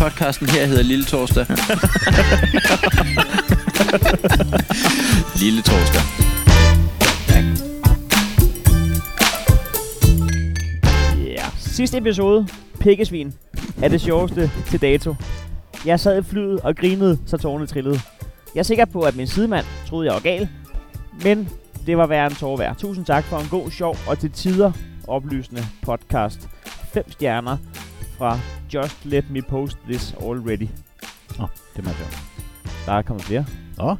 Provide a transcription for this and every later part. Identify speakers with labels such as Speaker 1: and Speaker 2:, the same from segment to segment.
Speaker 1: podcasten her hedder Lille Torsdag. Lille Torsdag.
Speaker 2: Ja. Sidste episode, Pikkesvin, er det sjoveste til dato. Jeg sad i flyet og grinede, så tårerne trillede. Jeg er sikker på, at min sidemand troede, jeg var gal, men det var værre end tårer værd. Tusind tak for en god, sjov og til tider oplysende podcast. 5 stjerner fra Just Let Me Post This Already.
Speaker 3: Det er meget sjovt.
Speaker 2: Der er kommet flere.
Speaker 3: Nå.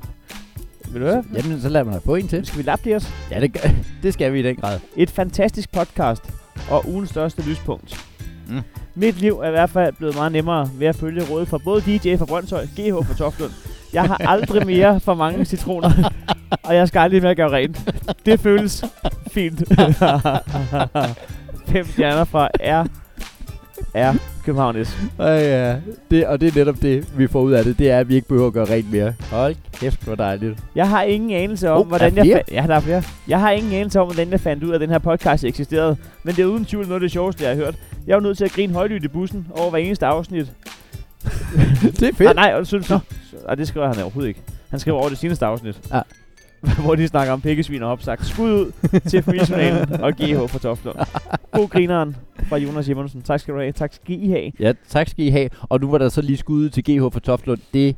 Speaker 2: Vil du høre?
Speaker 3: Jamen, så lader man da på en til.
Speaker 2: Skal vi lappe det også?
Speaker 3: Ja, det, gør- det skal vi i den grad.
Speaker 2: Et fantastisk podcast og ugens største lyspunkt.
Speaker 3: Mm.
Speaker 2: Mm. Mit liv er i hvert fald blevet meget nemmere ved at følge råd fra både DJ fra Brøndshøj, GH fra Toftlund. Jeg har aldrig mere for mange citroner, og jeg skal aldrig mere gøre rent. Det føles fint. Fem stjerner fra R. R. København S.
Speaker 3: Og ja, det, og det er netop det, vi får ud af det. Det er, at vi ikke behøver at gøre rent mere. Hold kæft, hvor dejligt.
Speaker 2: Jeg har ingen anelse om,
Speaker 3: Oh,
Speaker 2: oh,
Speaker 3: er
Speaker 2: hvordan jeg
Speaker 3: flere?
Speaker 2: fa- ja, der er flere. Jeg har ingen anelse om, hvordan jeg fandt ud af, at den her podcast eksisterede. Men det er uden tvivl noget af det sjoveste, jeg har hørt. Jeg var nødt til at grine højlydt i bussen over hver eneste afsnit.
Speaker 3: det er
Speaker 2: Ah,
Speaker 3: fedt.
Speaker 2: nej, og synes du? Ej, Ah, det skriver han overhovedet ikke. Han skriver over det seneste afsnit.
Speaker 3: Ja.
Speaker 2: hvor de snakker om pikkesvin og opsagt. Skud ud til Friisjournalen og GH fra Toftlund. God grineren fra Jonas Jimmonsen. Tak skal du have. Tak skal I have.
Speaker 3: Ja, tak skal I have. Og nu var der så lige skud til GH for Toftlund. Det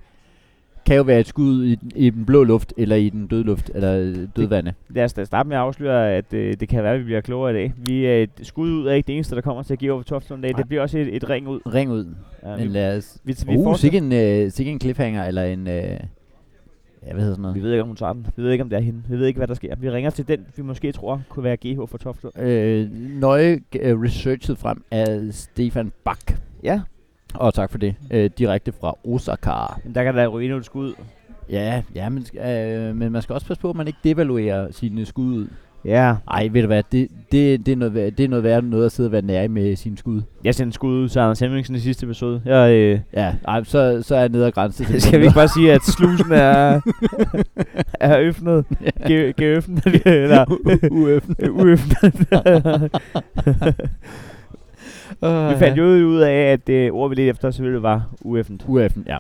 Speaker 3: kan jo være et skud i, den- i den blå luft, eller i den døde luft, eller øh, dødvande.
Speaker 2: Lad os da starte med at afsløre, at øh, det kan være, at vi bliver klogere i dag. Vi er et skud ud af ikke det eneste, der kommer til at give over Toftlund i dag.
Speaker 3: Nej.
Speaker 2: Det bliver også et, et ring ud.
Speaker 3: Ring ud.
Speaker 2: Ja,
Speaker 3: Men
Speaker 2: vi,
Speaker 3: lad os...
Speaker 2: vi, vi,
Speaker 3: Uh,
Speaker 2: fortsætter-
Speaker 3: sikke en, øh, sikke en cliffhanger, eller en... Øh, ja, hvad hedder sådan
Speaker 2: vi
Speaker 3: noget?
Speaker 2: ved ikke, om hun tager den. Vi ved ikke, om det er hende. Vi ved ikke, hvad der sker. Vi ringer til den, vi måske tror kunne være GH for Toftlund.
Speaker 3: Øh, nøje øh, researchet frem af Stefan Bak.
Speaker 2: Ja,
Speaker 3: Og tak for det. Øh, direkte fra Osaka.
Speaker 2: men der kan der ryge nogle skud.
Speaker 3: Ja, ja men, sk- øh, men man skal også passe på, at man ikke devaluerer sine skud ud.
Speaker 2: Ja.
Speaker 3: Ej, ved du hvad, det, det, det, er, noget, værd- det er noget værd noget at sidde og være nære med sine skud.
Speaker 2: Jeg sendte skud ud til Anders Hemmingsen i sidste episode. Jeg, øh,
Speaker 3: Ja, ej, så, så er jeg nede og grænse. til
Speaker 2: skal vi ikke bare sige, at slusen er, er øffnet? Ge- Geøffnet? Eller øh,
Speaker 3: UF'en.
Speaker 2: uøffnet? vi fandt jo ud af, at det ord, vi lidt efter, selvfølgelig var uøffnet.
Speaker 3: UF'en, ja.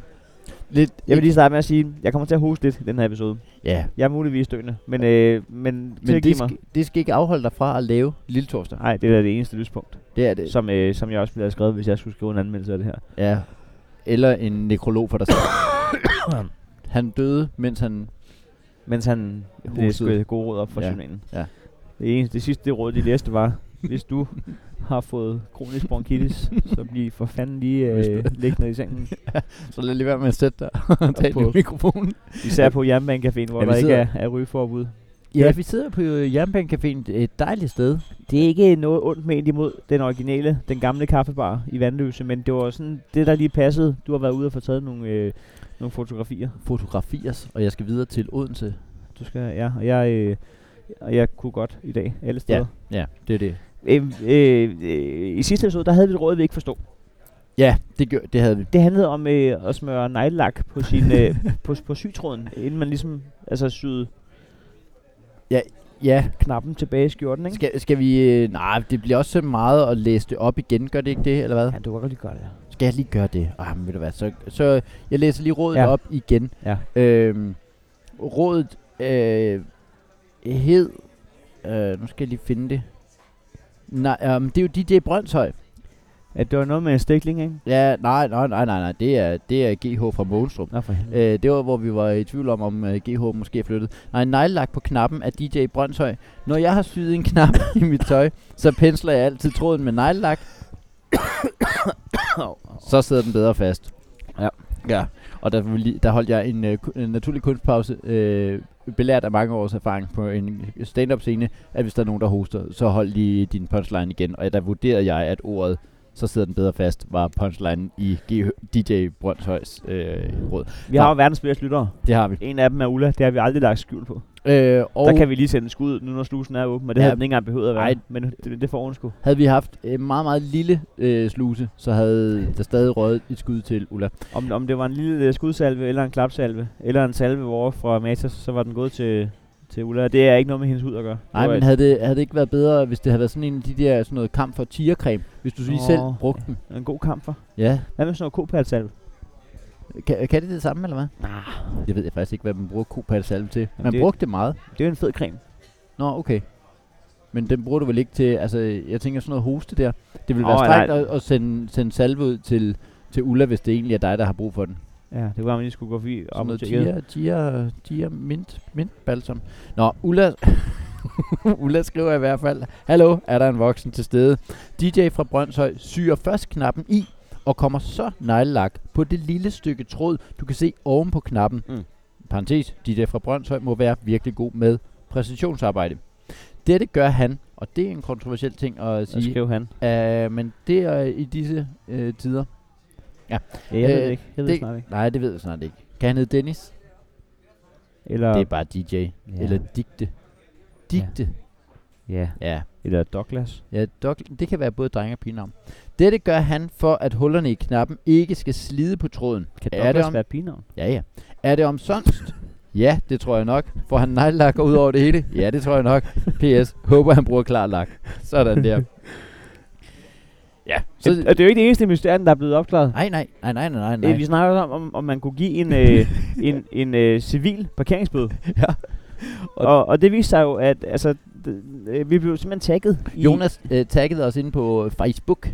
Speaker 3: Lidt,
Speaker 2: Jeg vil lige starte med at sige, at jeg kommer til at hoste lidt i den her episode.
Speaker 3: Ja,
Speaker 2: Jeg er muligvis døende, men, øh, men,
Speaker 3: men det,
Speaker 2: mig.
Speaker 3: sk- det skal ikke afholde dig fra at lave Lille Torsdag.
Speaker 2: Nej, det er da det eneste lyspunkt,
Speaker 3: Det er det.
Speaker 2: som, øh, som jeg også ville have skrevet, hvis jeg skulle skrive en anmeldelse af det her.
Speaker 3: Ja. Eller en nekrolog for dig selv. han døde, mens han...
Speaker 2: Mens han
Speaker 3: Hostede.
Speaker 2: læste gode råd op fra
Speaker 3: Ja,
Speaker 2: ja. journalen.
Speaker 3: ja.
Speaker 2: Det, eneste, det sidste det råd, de læste var, hvis du har fået kronisk bronkitis, så bliv for fanden lige
Speaker 3: Hvis du-
Speaker 2: øh, liggende i sengen.
Speaker 3: Så lad lige være med at sætte dig og tage
Speaker 2: på-
Speaker 3: på mikrofonen.
Speaker 2: Især på Jernbanecaféen, hvor ja,
Speaker 3: Ja, vi
Speaker 2: der ikke
Speaker 3: sidder-
Speaker 2: er, er rygeforbud.
Speaker 3: Ja, vi sidder på øh, Jernbanecaféen. Et dejligt sted.
Speaker 2: Det er ikke noget ondt ment imod den originale, den gamle kaffebar i Vandløse, men det var sådan det, der lige passede. Du har været ude og få taget nogle, øh, nogle fotografier.
Speaker 3: Fotografiers, og jeg skal videre til Odense.
Speaker 2: Du skal, ja, og jeg, øh, og jeg kunne godt i dag, alle steder.
Speaker 3: Ja, ja det er det.
Speaker 2: Øhm, øh, øh, I sidste episode, der havde vi et råd, vi ikke forstod.
Speaker 3: Ja, det, gør, det havde vi.
Speaker 2: Det handlede om øh, at smøre neglelak på, sin, øh, på, på sytråden, inden man ligesom altså, syede
Speaker 3: Ja,
Speaker 2: knappen tilbage i skjorten, ikke?
Speaker 3: skal, skal vi... Øh, nej, det bliver også så meget at læse det op igen, gør det ikke det, eller hvad?
Speaker 2: Ja, du kan godt lige gøre det.
Speaker 3: Skal jeg lige gøre det? Ah, men ved du hvad, så, så jeg læser lige rådet
Speaker 2: Ja.
Speaker 3: ja. op igen.
Speaker 2: Ja.
Speaker 3: Øhm, rådet øh, hed... Øh, nu skal jeg lige finde det. Nej, øh, det er jo DJ Brøndshøj.
Speaker 2: Ja, det var noget med en stikling, ikke?
Speaker 3: Ja, nej, nej, nej, nej, nej. Det er, det er GH fra Månstrup.
Speaker 2: Nå, for helvede.
Speaker 3: Øh, det var, hvor vi var i tvivl om, om øh, GH måske er flyttet. Nej, neglelak på knappen af DJ Brøndshøj. Når jeg har syet en knap i mit tøj, så pensler jeg altid tråden med neglelak. så sidder den bedre fast.
Speaker 2: Ja.
Speaker 3: Ja, og der, vil lige- der holdt jeg en, øh, ku- en naturlig kunstpause, øh, belært af mange års erfaring på en stand-up scene, at hvis der er nogen, der hoster, så hold lige din punchline igen. Og der vurderede jeg, at ordet, så sidder den bedre fast, var punchline i G- DJ Brøndshøjs øh, råd.
Speaker 2: Vi har jo verdens bedste lyttere.
Speaker 3: Det har vi.
Speaker 2: En af dem er Ulla, det har vi aldrig lagt skjul på.
Speaker 3: Øh, og
Speaker 2: Der kan vi lige sende en skud, nu når slusen er åben, og det
Speaker 3: Ja.
Speaker 2: ja. havde den ikke engang behøvet at være.
Speaker 3: Ej.
Speaker 2: Men det, det får hun sgu.
Speaker 3: havde vi haft en meget, meget lille øh, sluse, så havde der stadig røget et skud til Ulla.
Speaker 2: Om, om det var en lille øh, skudsalve, eller en klapsalve, eller en salve over fra Matas, så var den gået til, til Ulla. Det er ikke noget med hendes hud at gøre.
Speaker 3: Nej,
Speaker 2: Det var
Speaker 3: men
Speaker 2: et-
Speaker 3: havde det, havde det ikke været bedre, hvis det havde været sådan en af de der sådan noget kamp for tigercreme, hvis du lige
Speaker 2: Åh,
Speaker 3: selv brugte den?
Speaker 2: en god kamp for.
Speaker 3: Ja.
Speaker 2: Hvad med sådan noget kopalsalve?
Speaker 3: Kan, kan det det samme, eller hvad? Nej. Det ved jeg faktisk ikke, hvad man bruger kopalsalve til. Man
Speaker 2: det-
Speaker 3: brugte det meget.
Speaker 2: Det er jo en fed creme.
Speaker 3: Nå, okay. Men den bruger du vel ikke til, altså jeg tænker sådan noget hoste der. Det ville
Speaker 2: Åh,
Speaker 3: være strengt
Speaker 2: nej.
Speaker 3: at, at sende, sende salve ud til, til Ulla, hvis det egentlig er dig, der har brug for den.
Speaker 2: Ja, det var, man lige skulle gå forbi
Speaker 3: Sådan
Speaker 2: og
Speaker 3: noget
Speaker 2: tjekke.
Speaker 3: tia, tia, tia, mint, mint balsam. Nå, Ulla, Ulla skriver i hvert fald, Hallo, er der en voksen til stede? DJ fra Brøndshøj syr først knappen i, og kommer så neglelak på det lille stykke tråd, du kan se oven på knappen.
Speaker 2: Mm.
Speaker 3: Mm. Parentes, DJ fra Brøndshøj må være virkelig god med præcisionsarbejde. Dette gør han, og det er en kontroversiel ting at
Speaker 2: Så
Speaker 3: sige,
Speaker 2: skrev han.
Speaker 3: uh, men det er i disse uh, tider.
Speaker 2: Ja, jeg ved
Speaker 3: Øh,
Speaker 2: det ikke. Jeg ved det snart ikke.
Speaker 3: Nej, det ved jeg snart ikke. Kan han hedde Dennis?
Speaker 2: Eller,
Speaker 3: Det er bare DJ. Ja. Eller digte. Digte.
Speaker 2: ja.
Speaker 3: Ja. ja.
Speaker 2: eller Douglas.
Speaker 3: Ja, dog, det kan være både drenge og pigenavn. Dette gør han for, at hullerne i knappen ikke skal slide på tråden.
Speaker 2: Kan
Speaker 3: er det
Speaker 2: Douglas
Speaker 3: om,
Speaker 2: være et pigenavn?
Speaker 3: Ja, ja. Er det omsonst? ja, det tror jeg nok. Får han nejlakker ud over det hele? Ja, det tror jeg nok. P.S. Håber, han bruger klar lak. Sådan der. ja.
Speaker 2: Så,
Speaker 3: Så,
Speaker 2: det, det er jo ikke det eneste mysterium, der er blevet opklaret.
Speaker 3: nej, nej, nej, nej, nej, nej.
Speaker 2: Nej. Vi snakker om, om, om man kunne give en, øh, en, en øh, civil parkeringsbøde.
Speaker 3: Ja.
Speaker 2: Og, og, og det viste sig jo, at altså, d- øh, vi blev simpelthen tagget i...
Speaker 3: Jonas øh, taggede os inde på Facebook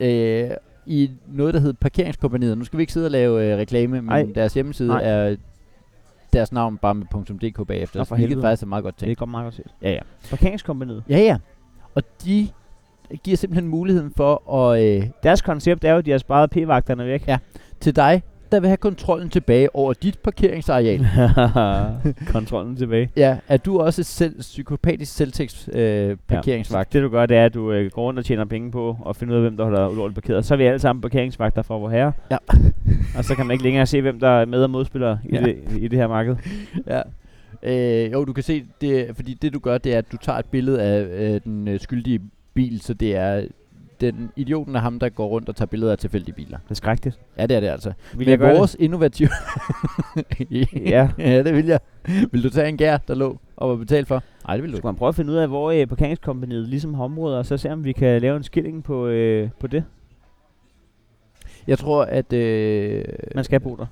Speaker 3: øh, i noget, der hedder Parkeringskompaniet. Nu skal vi ikke sidde og lave øh, reklame, men
Speaker 2: Ej.
Speaker 3: Ej. deres hjemmeside
Speaker 2: Nej.
Speaker 3: Nej. er deres navn bare med .dk bagefter.
Speaker 2: Nå, for
Speaker 3: hvilket
Speaker 2: helvede.
Speaker 3: faktisk er meget godt
Speaker 2: Det er
Speaker 3: tænkt.
Speaker 2: godt meget godt set.
Speaker 3: Ja, ja.
Speaker 2: Parkeringskompaniet.
Speaker 3: Ja, ja. Og de giver simpelthen muligheden for at... Øh,
Speaker 2: Deres koncept er jo, at de har sparet p-vagterne væk.
Speaker 3: til dig, der vil have kontrollen tilbage over dit parkeringsareal.
Speaker 2: Kontrollen tilbage.
Speaker 3: ja, er du også et selv, psykopatisk selvtægts øh, parkeringsvagt?
Speaker 2: Det du gør, det er, at du øh, går rundt og tjener penge på og finder ud af, hvem der holder ulovligt parkeret. Så er vi alle sammen parkeringsvagter for vor herre.
Speaker 3: Ja.
Speaker 2: og så kan man ikke længere se, hvem der er med- og modspillere i,
Speaker 3: Ja.
Speaker 2: det, i det her marked.
Speaker 3: Ja. Øh, jo, du kan se, det, fordi det du gør, det er, at du tager et billede af øh, den øh, skyldige bil, så det er den idioten af ham, der går rundt og tager billeder af tilfældige biler.
Speaker 2: Det er skrækkeligt.
Speaker 3: Ja, det er det altså.
Speaker 2: Vil
Speaker 3: Med
Speaker 2: jeg gøre
Speaker 3: vores det? innovative...
Speaker 2: Ja.
Speaker 3: ja, det vil jeg. Vil du tage en gær, der lå og var betalt for? Nej, det vil
Speaker 2: det? Skulle
Speaker 3: du ikke.
Speaker 2: man prøve at finde ud af, hvor øh, parkeringskompaniet ligesom har områder, og så se, om vi kan lave en skilling på, øh, på det?
Speaker 3: Jeg tror, at... Øh,
Speaker 2: Man skal bo der.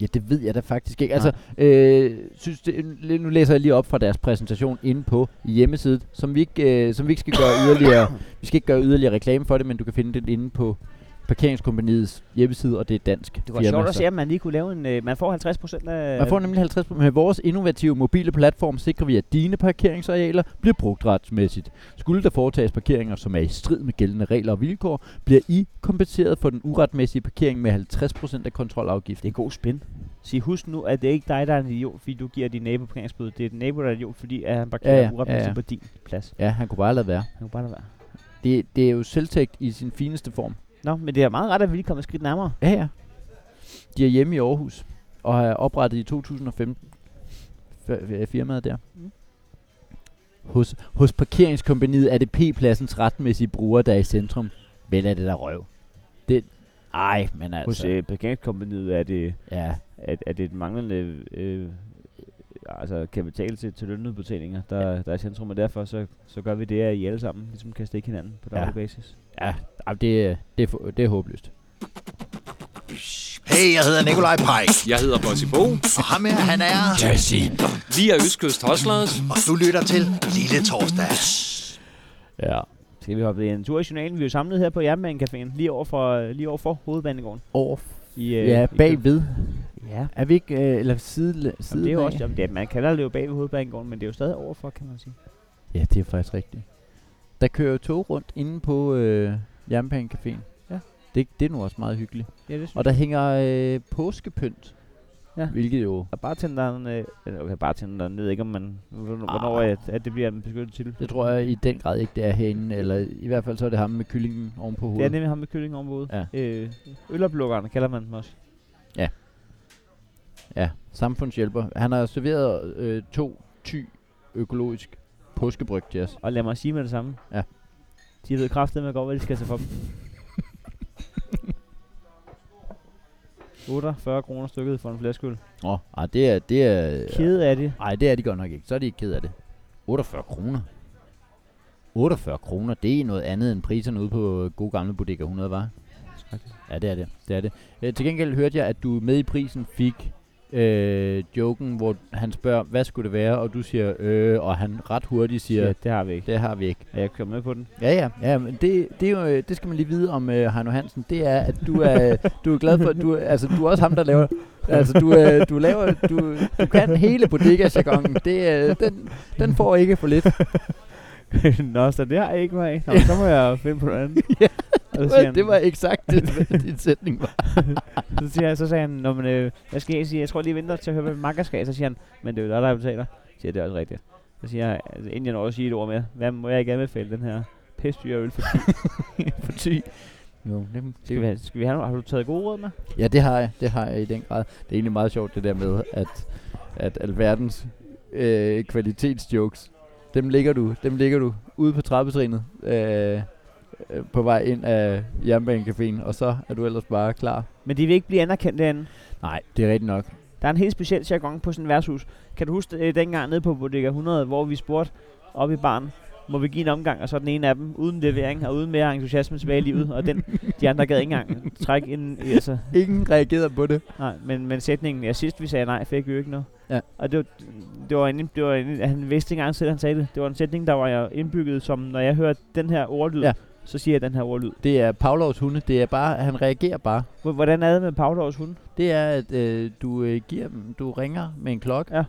Speaker 3: ja, det ved jeg da faktisk ikke. Altså, øh, synes det, nu læser jeg lige op fra deres præsentation inde på hjemmesiden, som vi ikke, øh, som vi ikke skal gøre yderligere Vi skal ikke gøre yderligere reklame for det, men du kan finde det inde på Parkeringskompaniets hjemmeside, og det er et dansk
Speaker 2: Det var
Speaker 3: firma,
Speaker 2: sjovt at
Speaker 3: så-
Speaker 2: se, øh, om man lige kunne lave en... Øh, man får 50 procent af...
Speaker 3: Man får nemlig 50 Med vores innovative mobile platform sikrer vi, at dine parkeringsarealer bliver brugt retsmæssigt. Skulle der foretages parkeringer, som er i strid med gældende regler og vilkår, bliver I kompenseret for den uretmæssige parkering med 50 af
Speaker 2: Det
Speaker 3: kontrolafgiften.
Speaker 2: er god spin. Sig, husk nu, at det er ikke dig, der er en idiot, fordi du giver din nabo parkeringsbøde. Det er din nabo, der er en idiot, fordi at han parkerer
Speaker 3: Ja,
Speaker 2: ja,
Speaker 3: ja,
Speaker 2: ja, uretmæssigt
Speaker 3: ja, ja.
Speaker 2: på din plads.
Speaker 3: Ja, han kunne bare lade være.
Speaker 2: Han kunne bare lade være.
Speaker 3: Det, det er jo selvtægt i sin fineste form.
Speaker 2: Nå, men det er meget ret, at vi lige kommer et skridt nærmere.
Speaker 3: Ja, ja. De er hjemme i Aarhus, og har oprettet i 2015 F- øh, firmaet der.
Speaker 2: Mm.
Speaker 3: Hos, hos parkeringskompaniet er det P-pladsens retmæssige bruger, der er i centrum. Vel er det der røv. Det, ej, men altså.
Speaker 2: Hos øh, parkeringskompaniet er det,
Speaker 3: ja.
Speaker 2: er, er det et manglende øh, altså kapital til, til lønudbetalinger, der, ja. der er i centrum, og derfor så, så gør vi det, at I alle sammen ligesom kan stikke hinanden på daglig
Speaker 3: Ja.
Speaker 2: ja. basis.
Speaker 3: ja ej, det, er- det, er, fu- det er håbløst.
Speaker 4: Hey, jeg hedder Nikolaj Pej,
Speaker 5: Jeg hedder Bossy Bo.
Speaker 4: og ham her, han er...
Speaker 5: Jazzy. Vi er Østkyst Hustlers.
Speaker 4: Og du lytter til Lille Torsdag.
Speaker 3: Ja.
Speaker 2: Skal vi hoppe en tur i journalen? Vi er jo samlet her på Jernbanecaféen, lige over for, lige over for hovedbanegården.
Speaker 3: Over,
Speaker 2: I, øh,
Speaker 3: ja,
Speaker 2: i København.
Speaker 3: bagved.
Speaker 2: Ja,
Speaker 3: Er vi ikke, øh, eller side, side
Speaker 2: Jamen, det er jo også, jamen, det er, man kalder det jo bag ved hovedbanegården, men det er jo stadig overfor, kan man sige.
Speaker 3: Ja, det er faktisk rigtigt. Der kører jo tog rundt inde på øh, Jernbanecaféen.
Speaker 2: Ja.
Speaker 3: Det, det er nu også meget hyggeligt.
Speaker 2: Ja, det synes
Speaker 3: Og der hænger øh, påskepynt.
Speaker 2: Ja.
Speaker 3: Hvilket jo,
Speaker 2: Og bartenderen, øh, eller okay, bartenderen ved ikke, om man, hvornår, hvornår
Speaker 3: Ah.
Speaker 2: at, at det bliver en beskyttet titel.
Speaker 3: det tror jeg i den grad ikke, det er herinde. Eller i hvert fald så er det ham med kyllingen oven på
Speaker 2: Det er
Speaker 3: hovedet.
Speaker 2: nemlig ham med kylling ovenpå.
Speaker 3: Ja.
Speaker 2: Øh, øloplukkerne kalder man dem også.
Speaker 3: Ja, samfundshjælper. Han har serveret øh, to ty økologisk påskebryg til os.
Speaker 2: Og lad mig sige med det samme.
Speaker 3: Ja.
Speaker 2: De ved kraftet med godt, hvad de skal tage for dem. 48 kroner stykket for en flaskeøl.
Speaker 3: Nå, ej, det er... Det er
Speaker 2: Kede af det.
Speaker 3: ej, det er de godt nok ikke. Så er de ikke ked af det. 48 kroner. 48 kroner, det er noget andet end priserne ude på øh, gode gamle Bodega 100, var. Ja, det er det. det, er det. Øh, til gengæld hørte jeg, at du med i prisen fik øh, joken, hvor han spørger, hvad skulle det være, og du siger, øh, og han ret hurtigt siger,
Speaker 2: Shit, det har vi ikke.
Speaker 3: det har vi ikke.
Speaker 2: Ja, jeg kører med på den.
Speaker 3: Ja, ja, ja, men det, det, er jo, øh, det skal man lige vide om øh, Heino Hansen, det er, at du er, øh, du er glad for, at du, er- altså, du er også ham, der laver, altså, du, øh, du laver, du, du kan hele bodega jargonen det, øh, den, den får ikke for lidt.
Speaker 2: Nå, så det har jeg ikke mig af. Nå, så må jeg finde på noget andet.
Speaker 3: Ja,
Speaker 2: Og så siger han-
Speaker 3: det var eksakt det, hvad din sætning var.
Speaker 2: Så, siger jeg, så sagde han, Nå, men, øh, hvad skal jeg sige? Jeg tror lige jeg venter til at høre, hvad min makker skal. Så siger han, men det er jo dig, der betaler. Så siger jeg, det er også rigtigt. Så siger jeg, altså, inden jeg når at sige et ord mere, hvad må jeg ikke anbefale den her pissdyre øl for
Speaker 3: For ty. Jo, det,
Speaker 2: skal vi, have, skal vi have nogle, har du taget gode råd med?
Speaker 3: Ja, det har jeg. Det har jeg i den grad. Det er egentlig meget sjovt, det der med, at, at alverdens øh, kvalitetsjokes, dem ligger du, dem ligger du ude på trappetrinet øh, øh, på vej ind af jernbanecaféen, og så er du ellers bare klar.
Speaker 2: Men de vil ikke blive anerkendt derinde.
Speaker 3: Nej, det er rigtigt nok.
Speaker 2: Der er en helt speciel jargon på sådan et værtshus. Kan du huske øh, dengang nede på Bodega 100, hvor vi spurgte op i baren, må vi give en omgang, og så den ene af dem, uden levering og uden mere entusiasme tilbage i livet, og den, de andre gad ikke engang trække ind i, altså,
Speaker 3: Ingen reagerer på det.
Speaker 2: Nej, men, men sætningen, ja sidst vi sagde nej, fik vi jo ikke noget.
Speaker 3: Ja.
Speaker 2: Og det var, det var, en, det var en, han vidste ikke engang selv, han sagde det. Det var en sætning, der var jeg indbygget som, når jeg hører den her ordlyd,
Speaker 3: Ja.
Speaker 2: så siger jeg den her ordlyd.
Speaker 3: Det er Pavlovs hunde. Det er bare, han reagerer bare.
Speaker 2: H- Hvordan er det med Pavlovs hund?
Speaker 3: Det er, at øh, du øh, giver dem, du ringer med en klokke.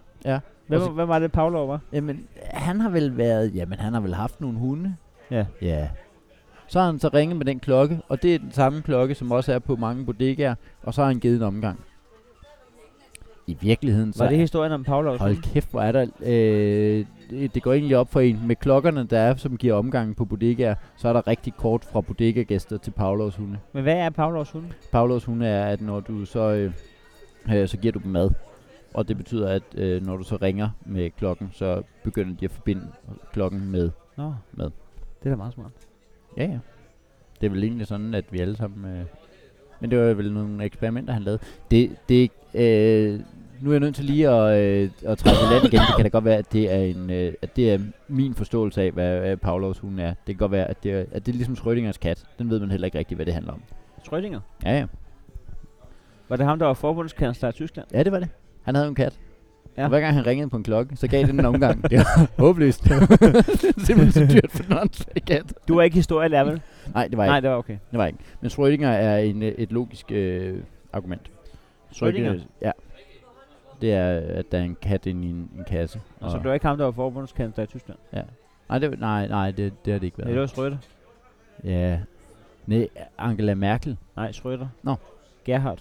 Speaker 2: Hvem,
Speaker 3: Og så-
Speaker 2: hvem var det, Pavlov var?
Speaker 3: Jamen, han har vel været, jamen han har vel haft nogle hunde.
Speaker 2: Ja.
Speaker 3: Ja. Så har han så ringet med den klokke, og det er den samme klokke, som også er på mange bodegaer, og så har han givet en omgang. I virkeligheden så...
Speaker 2: Var det historien om Pavlovs
Speaker 3: hold
Speaker 2: hund?
Speaker 3: kæft, hvor er der... Øh, det- det går egentlig op for en. Med klokkerne, der er, som giver omgangen på bodegaer, så er der rigtig kort fra bodegagæster til Pavlovs hunde.
Speaker 2: Men hvad er Pavlovs hund?
Speaker 3: Pavlovs hunde er, at når du så... Øh, øh, så giver du dem mad. Og det betyder, at øh, når du så ringer med klokken, så begynder de at forbinde klokken med
Speaker 2: Nå,
Speaker 3: Mad.
Speaker 2: det er da meget smart.
Speaker 3: Ja, ja. Det er vel egentlig sådan, at vi alle sammen... Øh, men det var vel nogle eksperimenter, han lavede. Det, det, øh, nu er jeg nødt til lige at, øh, at trække i land igen. Det kan da godt være, at det er, en, øh, at det er min forståelse af, hvad øh, Pavlovs hund er. Det kan godt være, at det, er, at det er ligesom Schrödingers kat. Den ved man heller ikke rigtigt, hvad det handler om.
Speaker 2: Schrödinger.
Speaker 3: Ja, ja.
Speaker 2: Var det ham, der var forbundskansler i Tyskland?
Speaker 3: Ja, det var det. Han havde jo en kat.
Speaker 2: Ja.
Speaker 3: Ja. Og hver gang han ringede på en klokke, så gav den en omgang. Det var håbløst. det er simpelthen så dyrt for en åndssvag kat.
Speaker 2: Du var ikke historielærer, vel?
Speaker 3: Nej, det var ikke.
Speaker 2: Nej, det var okay.
Speaker 3: Det var ikke. Men Schrödinger er en, øh, et logisk øh, argument.
Speaker 2: Schrödinger?
Speaker 3: Ja. Det er, at der er en kat inde i en, en kasse.
Speaker 2: Og så det var ikke ham, der var forbundskansler i Tyskland.
Speaker 3: nej, det, nej, nej, det, det har det ikke
Speaker 2: Ja. Det
Speaker 3: været.
Speaker 2: var Schröder.
Speaker 3: Ja. Nej, Angela Merkel.
Speaker 2: Nej, Schröder.
Speaker 3: Nå.
Speaker 2: Gerhard.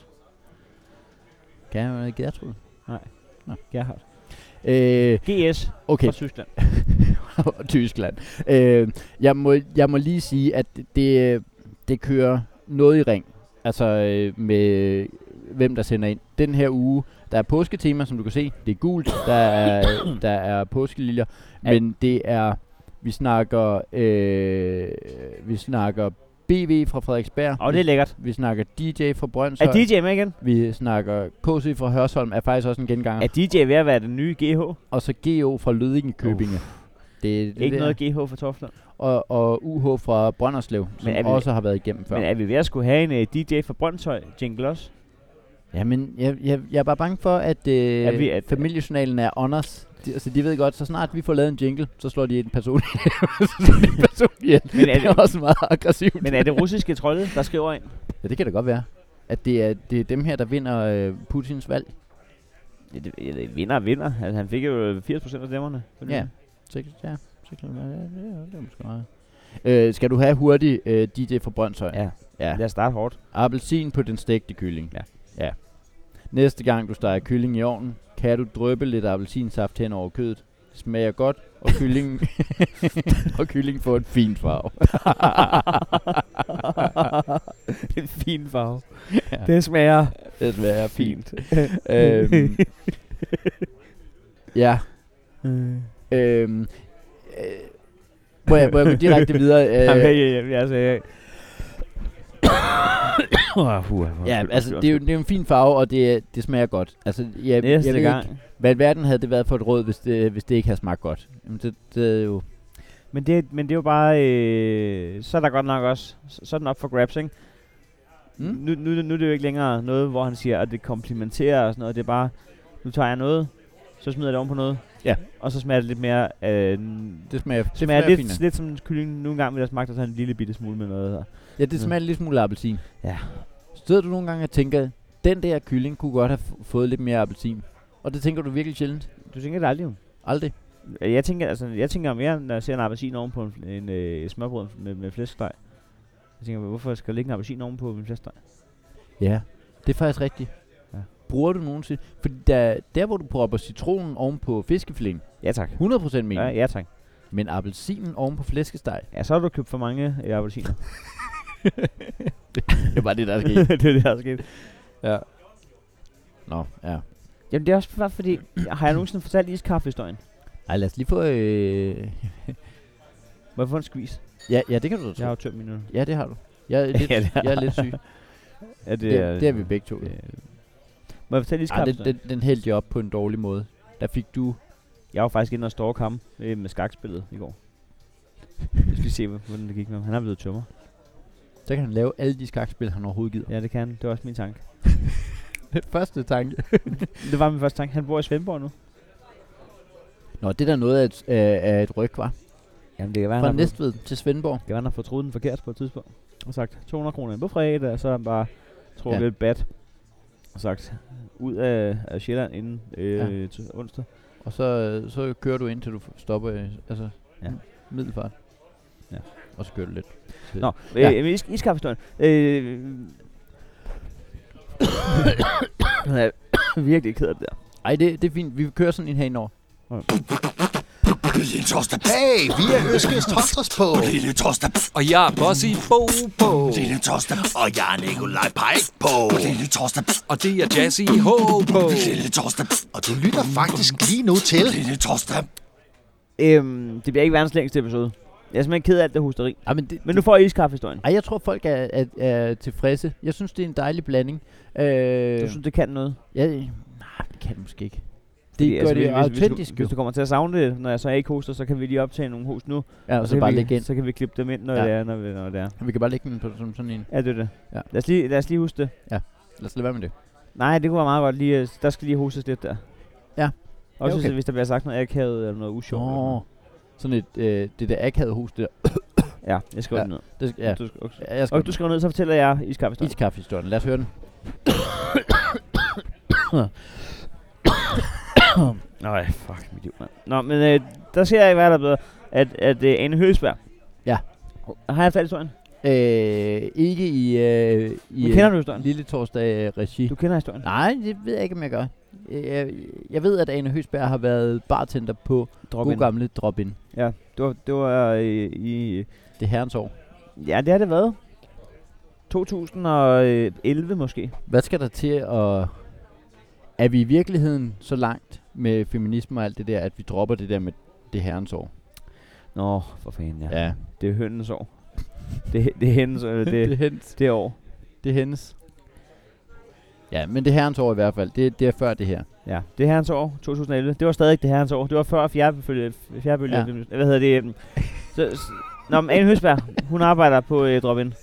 Speaker 3: Kan jeg noget Gertrud?
Speaker 2: Gerhard.
Speaker 3: Øh,
Speaker 2: GS
Speaker 3: okay,
Speaker 2: fra Tyskland.
Speaker 3: og Tyskland. Øh, jeg, må, jeg må lige sige, at det- det, øh, det kører noget i ring. Altså øh, med øh, hvem der sender ind. Den her uge, der er påsketema, som du kan se. Det er gult, der er, der er påskeliljer. Men det er, vi snakker, øh, vi snakker BV fra Frederiksberg.
Speaker 2: Og det er lækkert.
Speaker 3: vi snakker DJ fra Brøndshøj.
Speaker 2: Er DJ med igen?
Speaker 3: vi snakker KC fra Hørsholm, er faktisk også en genganger.
Speaker 2: Er DJ ved at være den nye GH?
Speaker 3: og så GO fra Lødingen Købinge. Det, er det
Speaker 2: Ikke
Speaker 3: der.
Speaker 2: noget GH for Toftland.
Speaker 3: og, og UH fra Brønderslev, som
Speaker 2: er vi-
Speaker 3: også har været igennem før.
Speaker 2: Men er vi ved at skulle have en uh, DJ fra Brøndshøj, Jingle også?
Speaker 3: Jamen, jeg, jeg, jeg er bare bange for, at, øh,
Speaker 2: Er vi-
Speaker 3: vi,
Speaker 2: at-
Speaker 3: at familiejournalen er on us. De, altså, de ved godt, så snart vi får lavet en jingle, så slår de en person ihjel. Så slår de en person ihjel.
Speaker 2: Men er
Speaker 3: det er
Speaker 2: det-
Speaker 3: også meget aggressivt.
Speaker 2: Men er det russiske trolde, der skriver ind?
Speaker 3: Ja, det kan da godt være. At det er, det er dem her, der vinder øh, Putins valg.
Speaker 2: Ja, det, ja, det vinder og vinder. Altså, han fik jo 80% af stemmerne.
Speaker 3: Ja. Sikkert, ja. Sikkert, ja, ja, ja, det er måske meget. Øh, skal du have hurtig øh, DJ fra Brøndshøj?
Speaker 2: Ja.
Speaker 3: ja.
Speaker 2: Lad os starte hårdt.
Speaker 3: Appelsin på den stegte kylling.
Speaker 2: Ja.
Speaker 3: ja. Næste gang du steger kylling i ovnen, kan du dryppe lidt appelsinsaft hen over kødet. Det smager godt, og kyllingen, og kyllingen får en fin farve.
Speaker 2: det er en fin farve.
Speaker 3: Ja.
Speaker 2: Det smager
Speaker 3: Det smager
Speaker 2: fint.
Speaker 3: øhm, ja. Øhm, øh, må, jeg, må jeg gå direkte videre?
Speaker 2: Jamen, ja,
Speaker 3: Øh,
Speaker 2: ja, ja, altså, ja. Uh, uh,
Speaker 3: Ja, altså, det er, jo, det er jo en fin farve, og det, er- det smager godt. Altså, jeg, jeg
Speaker 2: Næste
Speaker 3: ved
Speaker 2: gang.
Speaker 3: Ikke, hvad i verden havde det været for et råd, hvis det, hvis det ikke havde smagt godt? Jamen, det, det er jo...
Speaker 2: Men det, men det er jo bare, øh, så er der godt nok også, så så er den op for grabs, ikke? Mm?
Speaker 3: Mm.
Speaker 2: Nu, nu, nu er det jo ikke længere noget, hvor han siger, at det komplimenterer og sådan noget. Det er bare, nu tager jeg noget, så smider jeg det oven på noget.
Speaker 3: Ja.
Speaker 2: Og så smager det lidt mere, øh, det
Speaker 3: Det smager, det
Speaker 2: smager
Speaker 3: smager
Speaker 2: lidt,
Speaker 3: finere.
Speaker 2: lidt som kylling nu engang, vil der smagte sådan en lille bitte smule med noget. Der.
Speaker 3: Ja, det smager lidt smule af appelsin.
Speaker 2: Mm. Ja.
Speaker 3: Støder du nogle gange og tænker, den der kylling kunne godt have f- fået lidt mere appelsin? Og det tænker du virkelig sjældent?
Speaker 2: Du tænker det aldrig jo.
Speaker 3: Aldrig.
Speaker 2: Jeg tænker, altså, jeg tænker mere, når jeg ser en appelsin ovenpå en, fl- en øh, smørbrød med, med flæskesteg. Jeg tænker, hvorfor skal der ligge en appelsin ovenpå min flæskesteg?
Speaker 3: Ja, det er faktisk rigtigt.
Speaker 2: Ja.
Speaker 3: Ja. Bruger du nogensinde? Fordi der, der, hvor du propper citronen oven på fiskefilén,
Speaker 2: Ja tak.
Speaker 3: 100% mening,
Speaker 2: Ja,
Speaker 3: ja, ja.
Speaker 2: ja tak.
Speaker 3: men appelsinen oven på flæskesteg,
Speaker 2: Ja, så har du købt for mange øh, appelsiner.
Speaker 3: det var det, der skete.
Speaker 2: det er det, der er sket.
Speaker 3: ja. Nå, ja.
Speaker 2: Jamen, det er også bare fordi, har jeg nogensinde fortalt iskaffehistorien?
Speaker 3: Ej, lad os lige få... Øh...
Speaker 2: Må jeg få en squeeze?
Speaker 3: Ja, ja, det kan du da tro.
Speaker 2: Jeg har jo tømt min øl.
Speaker 3: Ja, det har du. Jeg er lidt,
Speaker 2: Ja, det har
Speaker 3: jeg er lidt syg.
Speaker 2: Ja,
Speaker 3: Det, det, det er vi begge to.
Speaker 2: Øh, må jeg fortælle
Speaker 3: Ej, den,
Speaker 2: iskaffehistorien?
Speaker 3: den, den hældte jeg op på en dårlig måde. Der fik du...
Speaker 2: Jeg var faktisk inde og stalk ham øh, med skakspillet i går. Jeg skal lige se, hvordan det gik med ham. Han er blevet tømmer.
Speaker 3: Så kan han lave alle de skakspil, han overhovedet gider.
Speaker 2: Ja, det kan han. Det var også min tanke.
Speaker 3: Ja. Første tanke.
Speaker 2: Det var min første tanke. Han bor i Svendborg nu.
Speaker 3: Nå, det er da noget af et, øh, af et ryg, var.
Speaker 2: Jamen, det kan være,
Speaker 3: Fra Næstved til Svendborg.
Speaker 2: Det var, han har fået troet den forkert på et tidspunkt. Og sagt, 200 kroner ind på fredag, og så har han bare trukket
Speaker 3: Ja.
Speaker 2: ja. et bat. Og sagt, ud af, af Sjælland inden øh, ja. onsdag.
Speaker 3: Og så, øh, så kører du indtil du f- stopper øh, altså,
Speaker 2: Ja.
Speaker 3: ja. middelfart.
Speaker 2: Ja.
Speaker 3: Og så kører du lidt.
Speaker 2: Nå, øh,
Speaker 3: Ja.
Speaker 2: ja. is- iskaffehistorien. Øh, jeg er virkelig ked af det der.
Speaker 3: Ej, det, det er fint. Vi kører sådan en henover.
Speaker 4: Lille torsdag. Hey, vi er Øskes Torsdags på. Lille torsdag.
Speaker 5: Og jeg er Bossy Bo på.
Speaker 4: Lille torsdag. Og jeg er Nikolaj Pike på. Lille torsdag.
Speaker 5: Og det er Jazzy H på.
Speaker 4: Lille torsdag. Og du lytter faktisk lige nu til. Lille torsdag.
Speaker 2: Øhm, det bliver ikke verdens længste episode. Jeg er simpelthen ked af alt det hosteri.
Speaker 3: Ej, men det,
Speaker 2: Men nu får I iskaffehistorien.
Speaker 3: Ej, jeg tror, folk er, er, er tilfredse. Jeg synes, det er en dejlig blanding. Øh,
Speaker 2: Du synes, det kan noget.
Speaker 3: ja, nej, det kan det måske ikke. Det
Speaker 2: Fordi,
Speaker 3: gør altså, det
Speaker 2: hvis, hvis, hvis,
Speaker 3: autentisk,
Speaker 2: du,
Speaker 3: jo.
Speaker 2: hvis du kommer til at savne det, når jeg så ikke hoster, så kan vi lige optage nogle host nu.
Speaker 3: Ja, og så bare
Speaker 2: vi,
Speaker 3: lægge ind.
Speaker 2: Så kan vi klippe dem ind, når,
Speaker 3: Ja.
Speaker 2: ja. det, er, når, vi, når det er.
Speaker 3: Vi kan bare lægge den på som sådan en.
Speaker 2: Ja, det er det.
Speaker 3: Ja.
Speaker 2: Lad, os lige, lad os lige huske det.
Speaker 3: Lad os lade være med det.
Speaker 2: Nej, det kunne være meget godt lige. øh, Der skal lige hostes lidt der.
Speaker 3: Ja. Ja,
Speaker 2: Også
Speaker 3: okay.
Speaker 2: okay. hvis der bliver sagt noget akavet eller noget usjovt. eller sådan
Speaker 3: Åh,
Speaker 2: noget.
Speaker 3: sådan et, øh, det der akavede hus der.
Speaker 2: Ja, jeg skriver
Speaker 3: Ja.
Speaker 2: det ned.
Speaker 3: Det, skal- ja,
Speaker 2: Du skal, okay.
Speaker 3: Ja, jeg skal
Speaker 2: Og du skriver ned, så fortæller jeg iskaffehistorien.
Speaker 3: iskaffehistorien. Lad os høre den.
Speaker 2: Nej, fuck mit liv, mand. Nå, men øh, der ser jeg, hvad der er bedre. At, at øh, Anne Høgsberg.
Speaker 3: Ja.
Speaker 2: Har jeg fortalt historien?
Speaker 3: Øh, ikke i, øh, i
Speaker 2: Nu kender
Speaker 3: øh,
Speaker 2: du historien.
Speaker 3: Lille Torsdag øh, regi.
Speaker 2: Du kender historien.
Speaker 3: Nej, det ved jeg ikke, om jeg gør. Øh, Jeg, jeg ved, at Ane Høsberg har været bartender på
Speaker 2: Drop
Speaker 3: god gamle Drop-In.
Speaker 2: Ja, det var, det var øh, i...
Speaker 3: Det er herrens år.
Speaker 2: Ja, det har det været. 2011 måske.
Speaker 3: Hvad skal der til at... Er vi i virkeligheden så langt med feminisme og alt det der, at vi dropper det der med det herrens år?
Speaker 2: Nå, for fanden, ja. ja.
Speaker 3: ja.
Speaker 2: Det er hønens år. Det, det er hendes, øh,
Speaker 3: det, er
Speaker 2: det,
Speaker 3: hendes.
Speaker 2: det år.
Speaker 3: Det er hendes. Ja, men det herrens år i hvert fald. Det, det er før det her.
Speaker 2: Ja, det er herrens år, 2011. Det var stadig det herrens år. Det var før fjerdebølge, fjerdebølge,
Speaker 3: Ja.
Speaker 2: ja. hvad hedder det? øhm, Så, s- Nå, men Anne Høsberg, hun arbejder på øh, Drop-In.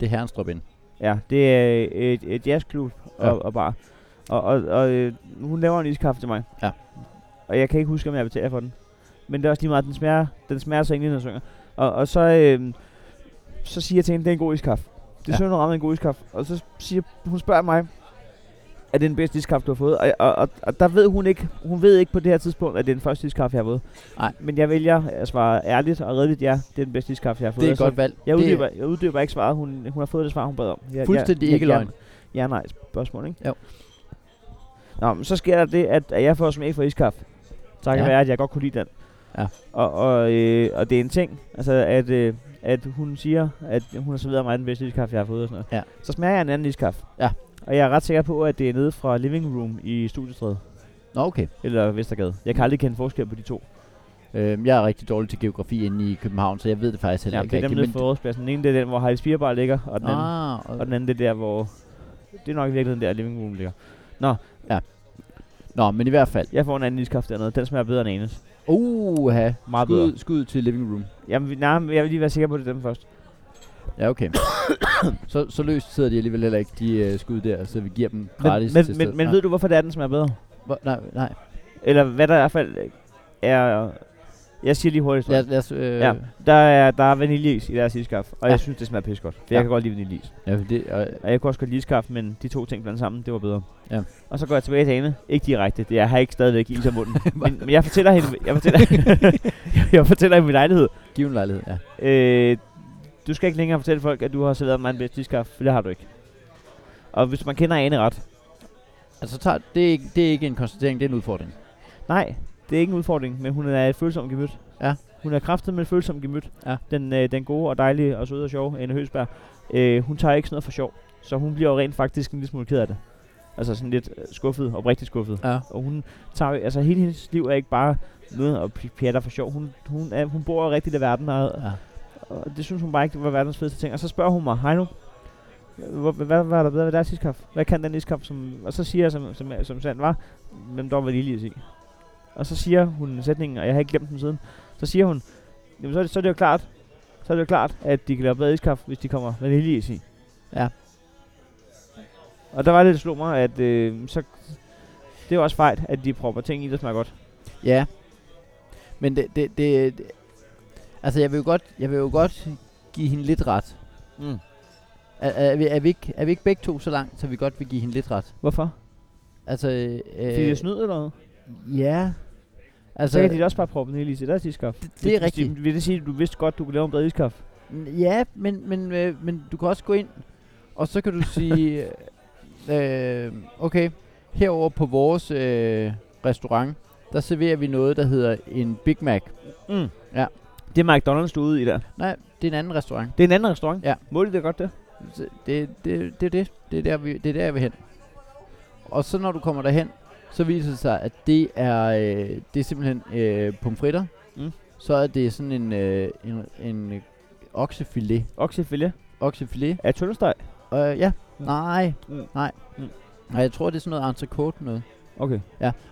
Speaker 3: Det er herrens drop-in.
Speaker 2: Ja, det er øh, et, et jazzklub og,
Speaker 3: Ja.
Speaker 2: ja. og bar. Og, og, og øh, hun laver en iskaffe til mig.
Speaker 3: Ja.
Speaker 2: Og jeg kan ikke huske, om jeg betaler for den. Men det er også lige meget, den smager, den smager så egentlig, når jeg synger. Og, og så, øh, så siger jeg til hende, det er en god iskaffe. Det
Speaker 3: Ja.
Speaker 2: synes hun rammer en god iskaffe. Og så siger, hun spørger mig, er det den bedste iskaffe, du har fået? Og, og, og, og, der ved hun ikke, hun ved ikke på det her tidspunkt, at det er den første iskaffe, jeg har fået.
Speaker 3: Nej.
Speaker 2: Men jeg vælger at svare ærligt og redeligt, ja, det er den bedste iskaffe, jeg har fået.
Speaker 3: Det er
Speaker 2: Og
Speaker 3: et
Speaker 2: så
Speaker 3: godt valg.
Speaker 2: jeg
Speaker 3: det,
Speaker 2: uddyber, jeg uddyber ikke svaret. Hun, hun har fået det svar, hun bad om. Jeg,
Speaker 3: Fuldstændig ikke løgn.
Speaker 2: Ja, ja, nej, spørgsmål, ikke?
Speaker 3: Jo.
Speaker 2: Nå, men så sker der det, at, at jeg får smag for iskaffe. Tak ja.
Speaker 3: Ja.
Speaker 2: være, at jeg godt kunne lide den.
Speaker 3: Ja.
Speaker 2: Og, og, øh, og det er en ting, altså at, øh, at hun siger, at hun har serveret mig den bedste iskaffe, jeg har fået og sådan noget. Så smager jeg en anden iskaffe.
Speaker 3: Ja.
Speaker 2: Og jeg er ret sikker på, at det er nede fra Living Room i Studiestræde.
Speaker 3: Nå, okay.
Speaker 2: Eller Vestergade. Jeg kan aldrig kende forskel på de to.
Speaker 3: Øhm, jeg er rigtig dårlig til geografi inde i København, så jeg ved det faktisk heller
Speaker 2: Ja,
Speaker 3: ikke
Speaker 2: det er dem nede på rådspladsen. Den ene det er den, hvor Heilis Bierbar ligger, og den, anden,
Speaker 3: ah, og,
Speaker 2: og den anden det er der, hvor... Det er nok i virkeligheden der, Living Room ligger.
Speaker 3: Nå, men i hvert fald.
Speaker 2: Jeg får en anden iskaffe dernede. Den smager bedre end Anes.
Speaker 3: Uha.
Speaker 2: Meget bedre.
Speaker 3: Skud, skud til living room.
Speaker 2: Jamen, vi- nej, men jeg vil lige være sikker på, at det er dem først.
Speaker 3: Ja, okay. så, så løst sidder de alligevel heller ikke, de øh, skud der, så vi giver dem
Speaker 2: Men,
Speaker 3: gratis
Speaker 2: men,
Speaker 3: til
Speaker 2: men,
Speaker 3: stedet.
Speaker 2: men
Speaker 3: Nej.
Speaker 2: ved du, hvorfor det er, den smager bedre?
Speaker 3: Hvor- Nej, nej.
Speaker 2: Eller hvad der i hvert fald er... Jeg siger lige hurtigt.
Speaker 3: Lad,
Speaker 2: Ja.
Speaker 3: os- lad os, øh,
Speaker 2: Ja.
Speaker 3: ja.
Speaker 2: Der, er, der er vaniljeis i deres iskaffe, og ja.
Speaker 3: Ja.
Speaker 2: jeg synes, det smager pissegodt. For ja.
Speaker 3: Ja.
Speaker 2: jeg kan godt lide vaniljeis.
Speaker 3: ja for det, øh,
Speaker 2: Og jeg kunne også godt lide iskaffe, men de to ting blandt sammen, det var bedre.
Speaker 3: Ja.
Speaker 2: Og så går jeg tilbage til Ane. Ikke direkte, det er, jeg har ikke stadigvæk is i munden. men, men, jeg fortæller hende, jeg fortæller, jeg fortæller hende min lejlighed.
Speaker 3: giv en lejlighed, ja.
Speaker 2: Øh, du skal ikke længere fortælle folk, at du har serveret mig en bedst iskaffe, for det har du ikke. Og hvis man kender Ane ret,
Speaker 3: Altså, tager, det, er ikke, det er ikke en konstatering, det er en udfordring.
Speaker 2: Nej, det er ikke en udfordring, men hun er et følsomt gemyt.
Speaker 3: Ja.
Speaker 2: Hun er kraftet med et følsomt gemyt.
Speaker 3: Ja.
Speaker 2: Den, øh, den gode og dejlige og søde og sjove Anne Høsberg. Øh, hun tager ikke sådan noget for sjov, så hun bliver jo rent faktisk en lille smule ked af det. Altså sådan lidt øh, skuffet, oprigtigt skuffet.
Speaker 3: Ja.
Speaker 2: Og hun tager, jo- altså hele hendes liv er ikke bare noget og pjatter for sjov. Hun, hun, er, hun bor jo rigtigt i verden, og,
Speaker 3: ja.
Speaker 2: og, det synes hun bare ikke, det var verdens fedeste ting. Og så spørger hun mig, hej nu, hvor- hvad var der bedre ved deres iskaffe? Hvad kan den iskaffe? Som, og så siger jeg, som, som, som sandt var, hvem der var lige at se. Og så siger hun sætningen, og jeg har ikke glemt den siden. Så siger hun, jamen så er det, så er det jo klart, så er det jo klart, at de kan lave bedre iskaffe, hvis de kommer vaniljeis i.
Speaker 3: Ja.
Speaker 2: Og der var det, der slog mig, at øh, så, det er også fejl, at de propper ting i, der smager godt.
Speaker 3: Ja. Men det, det, det, det altså jeg vil jo godt, jeg vil jo godt give hende lidt ret.
Speaker 2: Mm.
Speaker 3: Er, er, vi, er, vi ikke, er vi ikke begge to så langt, så vi godt vil give hende lidt ret?
Speaker 2: Hvorfor?
Speaker 3: Altså, øh,
Speaker 2: Fordi det er snyd eller noget?
Speaker 3: Ja.
Speaker 2: Så
Speaker 3: Altså,
Speaker 2: kan de da også bare proppe vaniljeis i deres iskaffe.
Speaker 3: det, det er
Speaker 2: Hvis de-
Speaker 3: rigtigt.
Speaker 2: Vil det sige, at du vidste godt, du kunne lave en bedre iskaffe?
Speaker 3: N- Ja, men, men, øh, men du kan også gå ind, og så kan du sige, øh, okay, herover på vores øh, restaurant, der serverer vi noget, der hedder en Big Mac.
Speaker 2: Mm.
Speaker 3: Ja.
Speaker 2: Det er McDonald's, du er ude i der.
Speaker 3: Nej, det er en anden restaurant.
Speaker 2: Det er en anden restaurant.
Speaker 3: Ja.
Speaker 2: Må de det godt det?
Speaker 3: Så det, det, det, er det. Det er der, vi, det er der, jeg vil hen. Og så når du kommer derhen, så viser det sig, at det er, øh, det er simpelthen øh, pomfritter.
Speaker 2: Mm.
Speaker 3: Så er det sådan en, øh, en, en øh, oksefilet.
Speaker 2: Oksefilet.
Speaker 3: Oksefilet.
Speaker 2: Er tøndesteg?
Speaker 3: Øh, ja.
Speaker 2: Mm.
Speaker 3: Nej.
Speaker 2: Mm.
Speaker 3: Nej.
Speaker 2: Mm.
Speaker 3: Nej, jeg tror, det er sådan noget entrecote noget.
Speaker 2: Okay.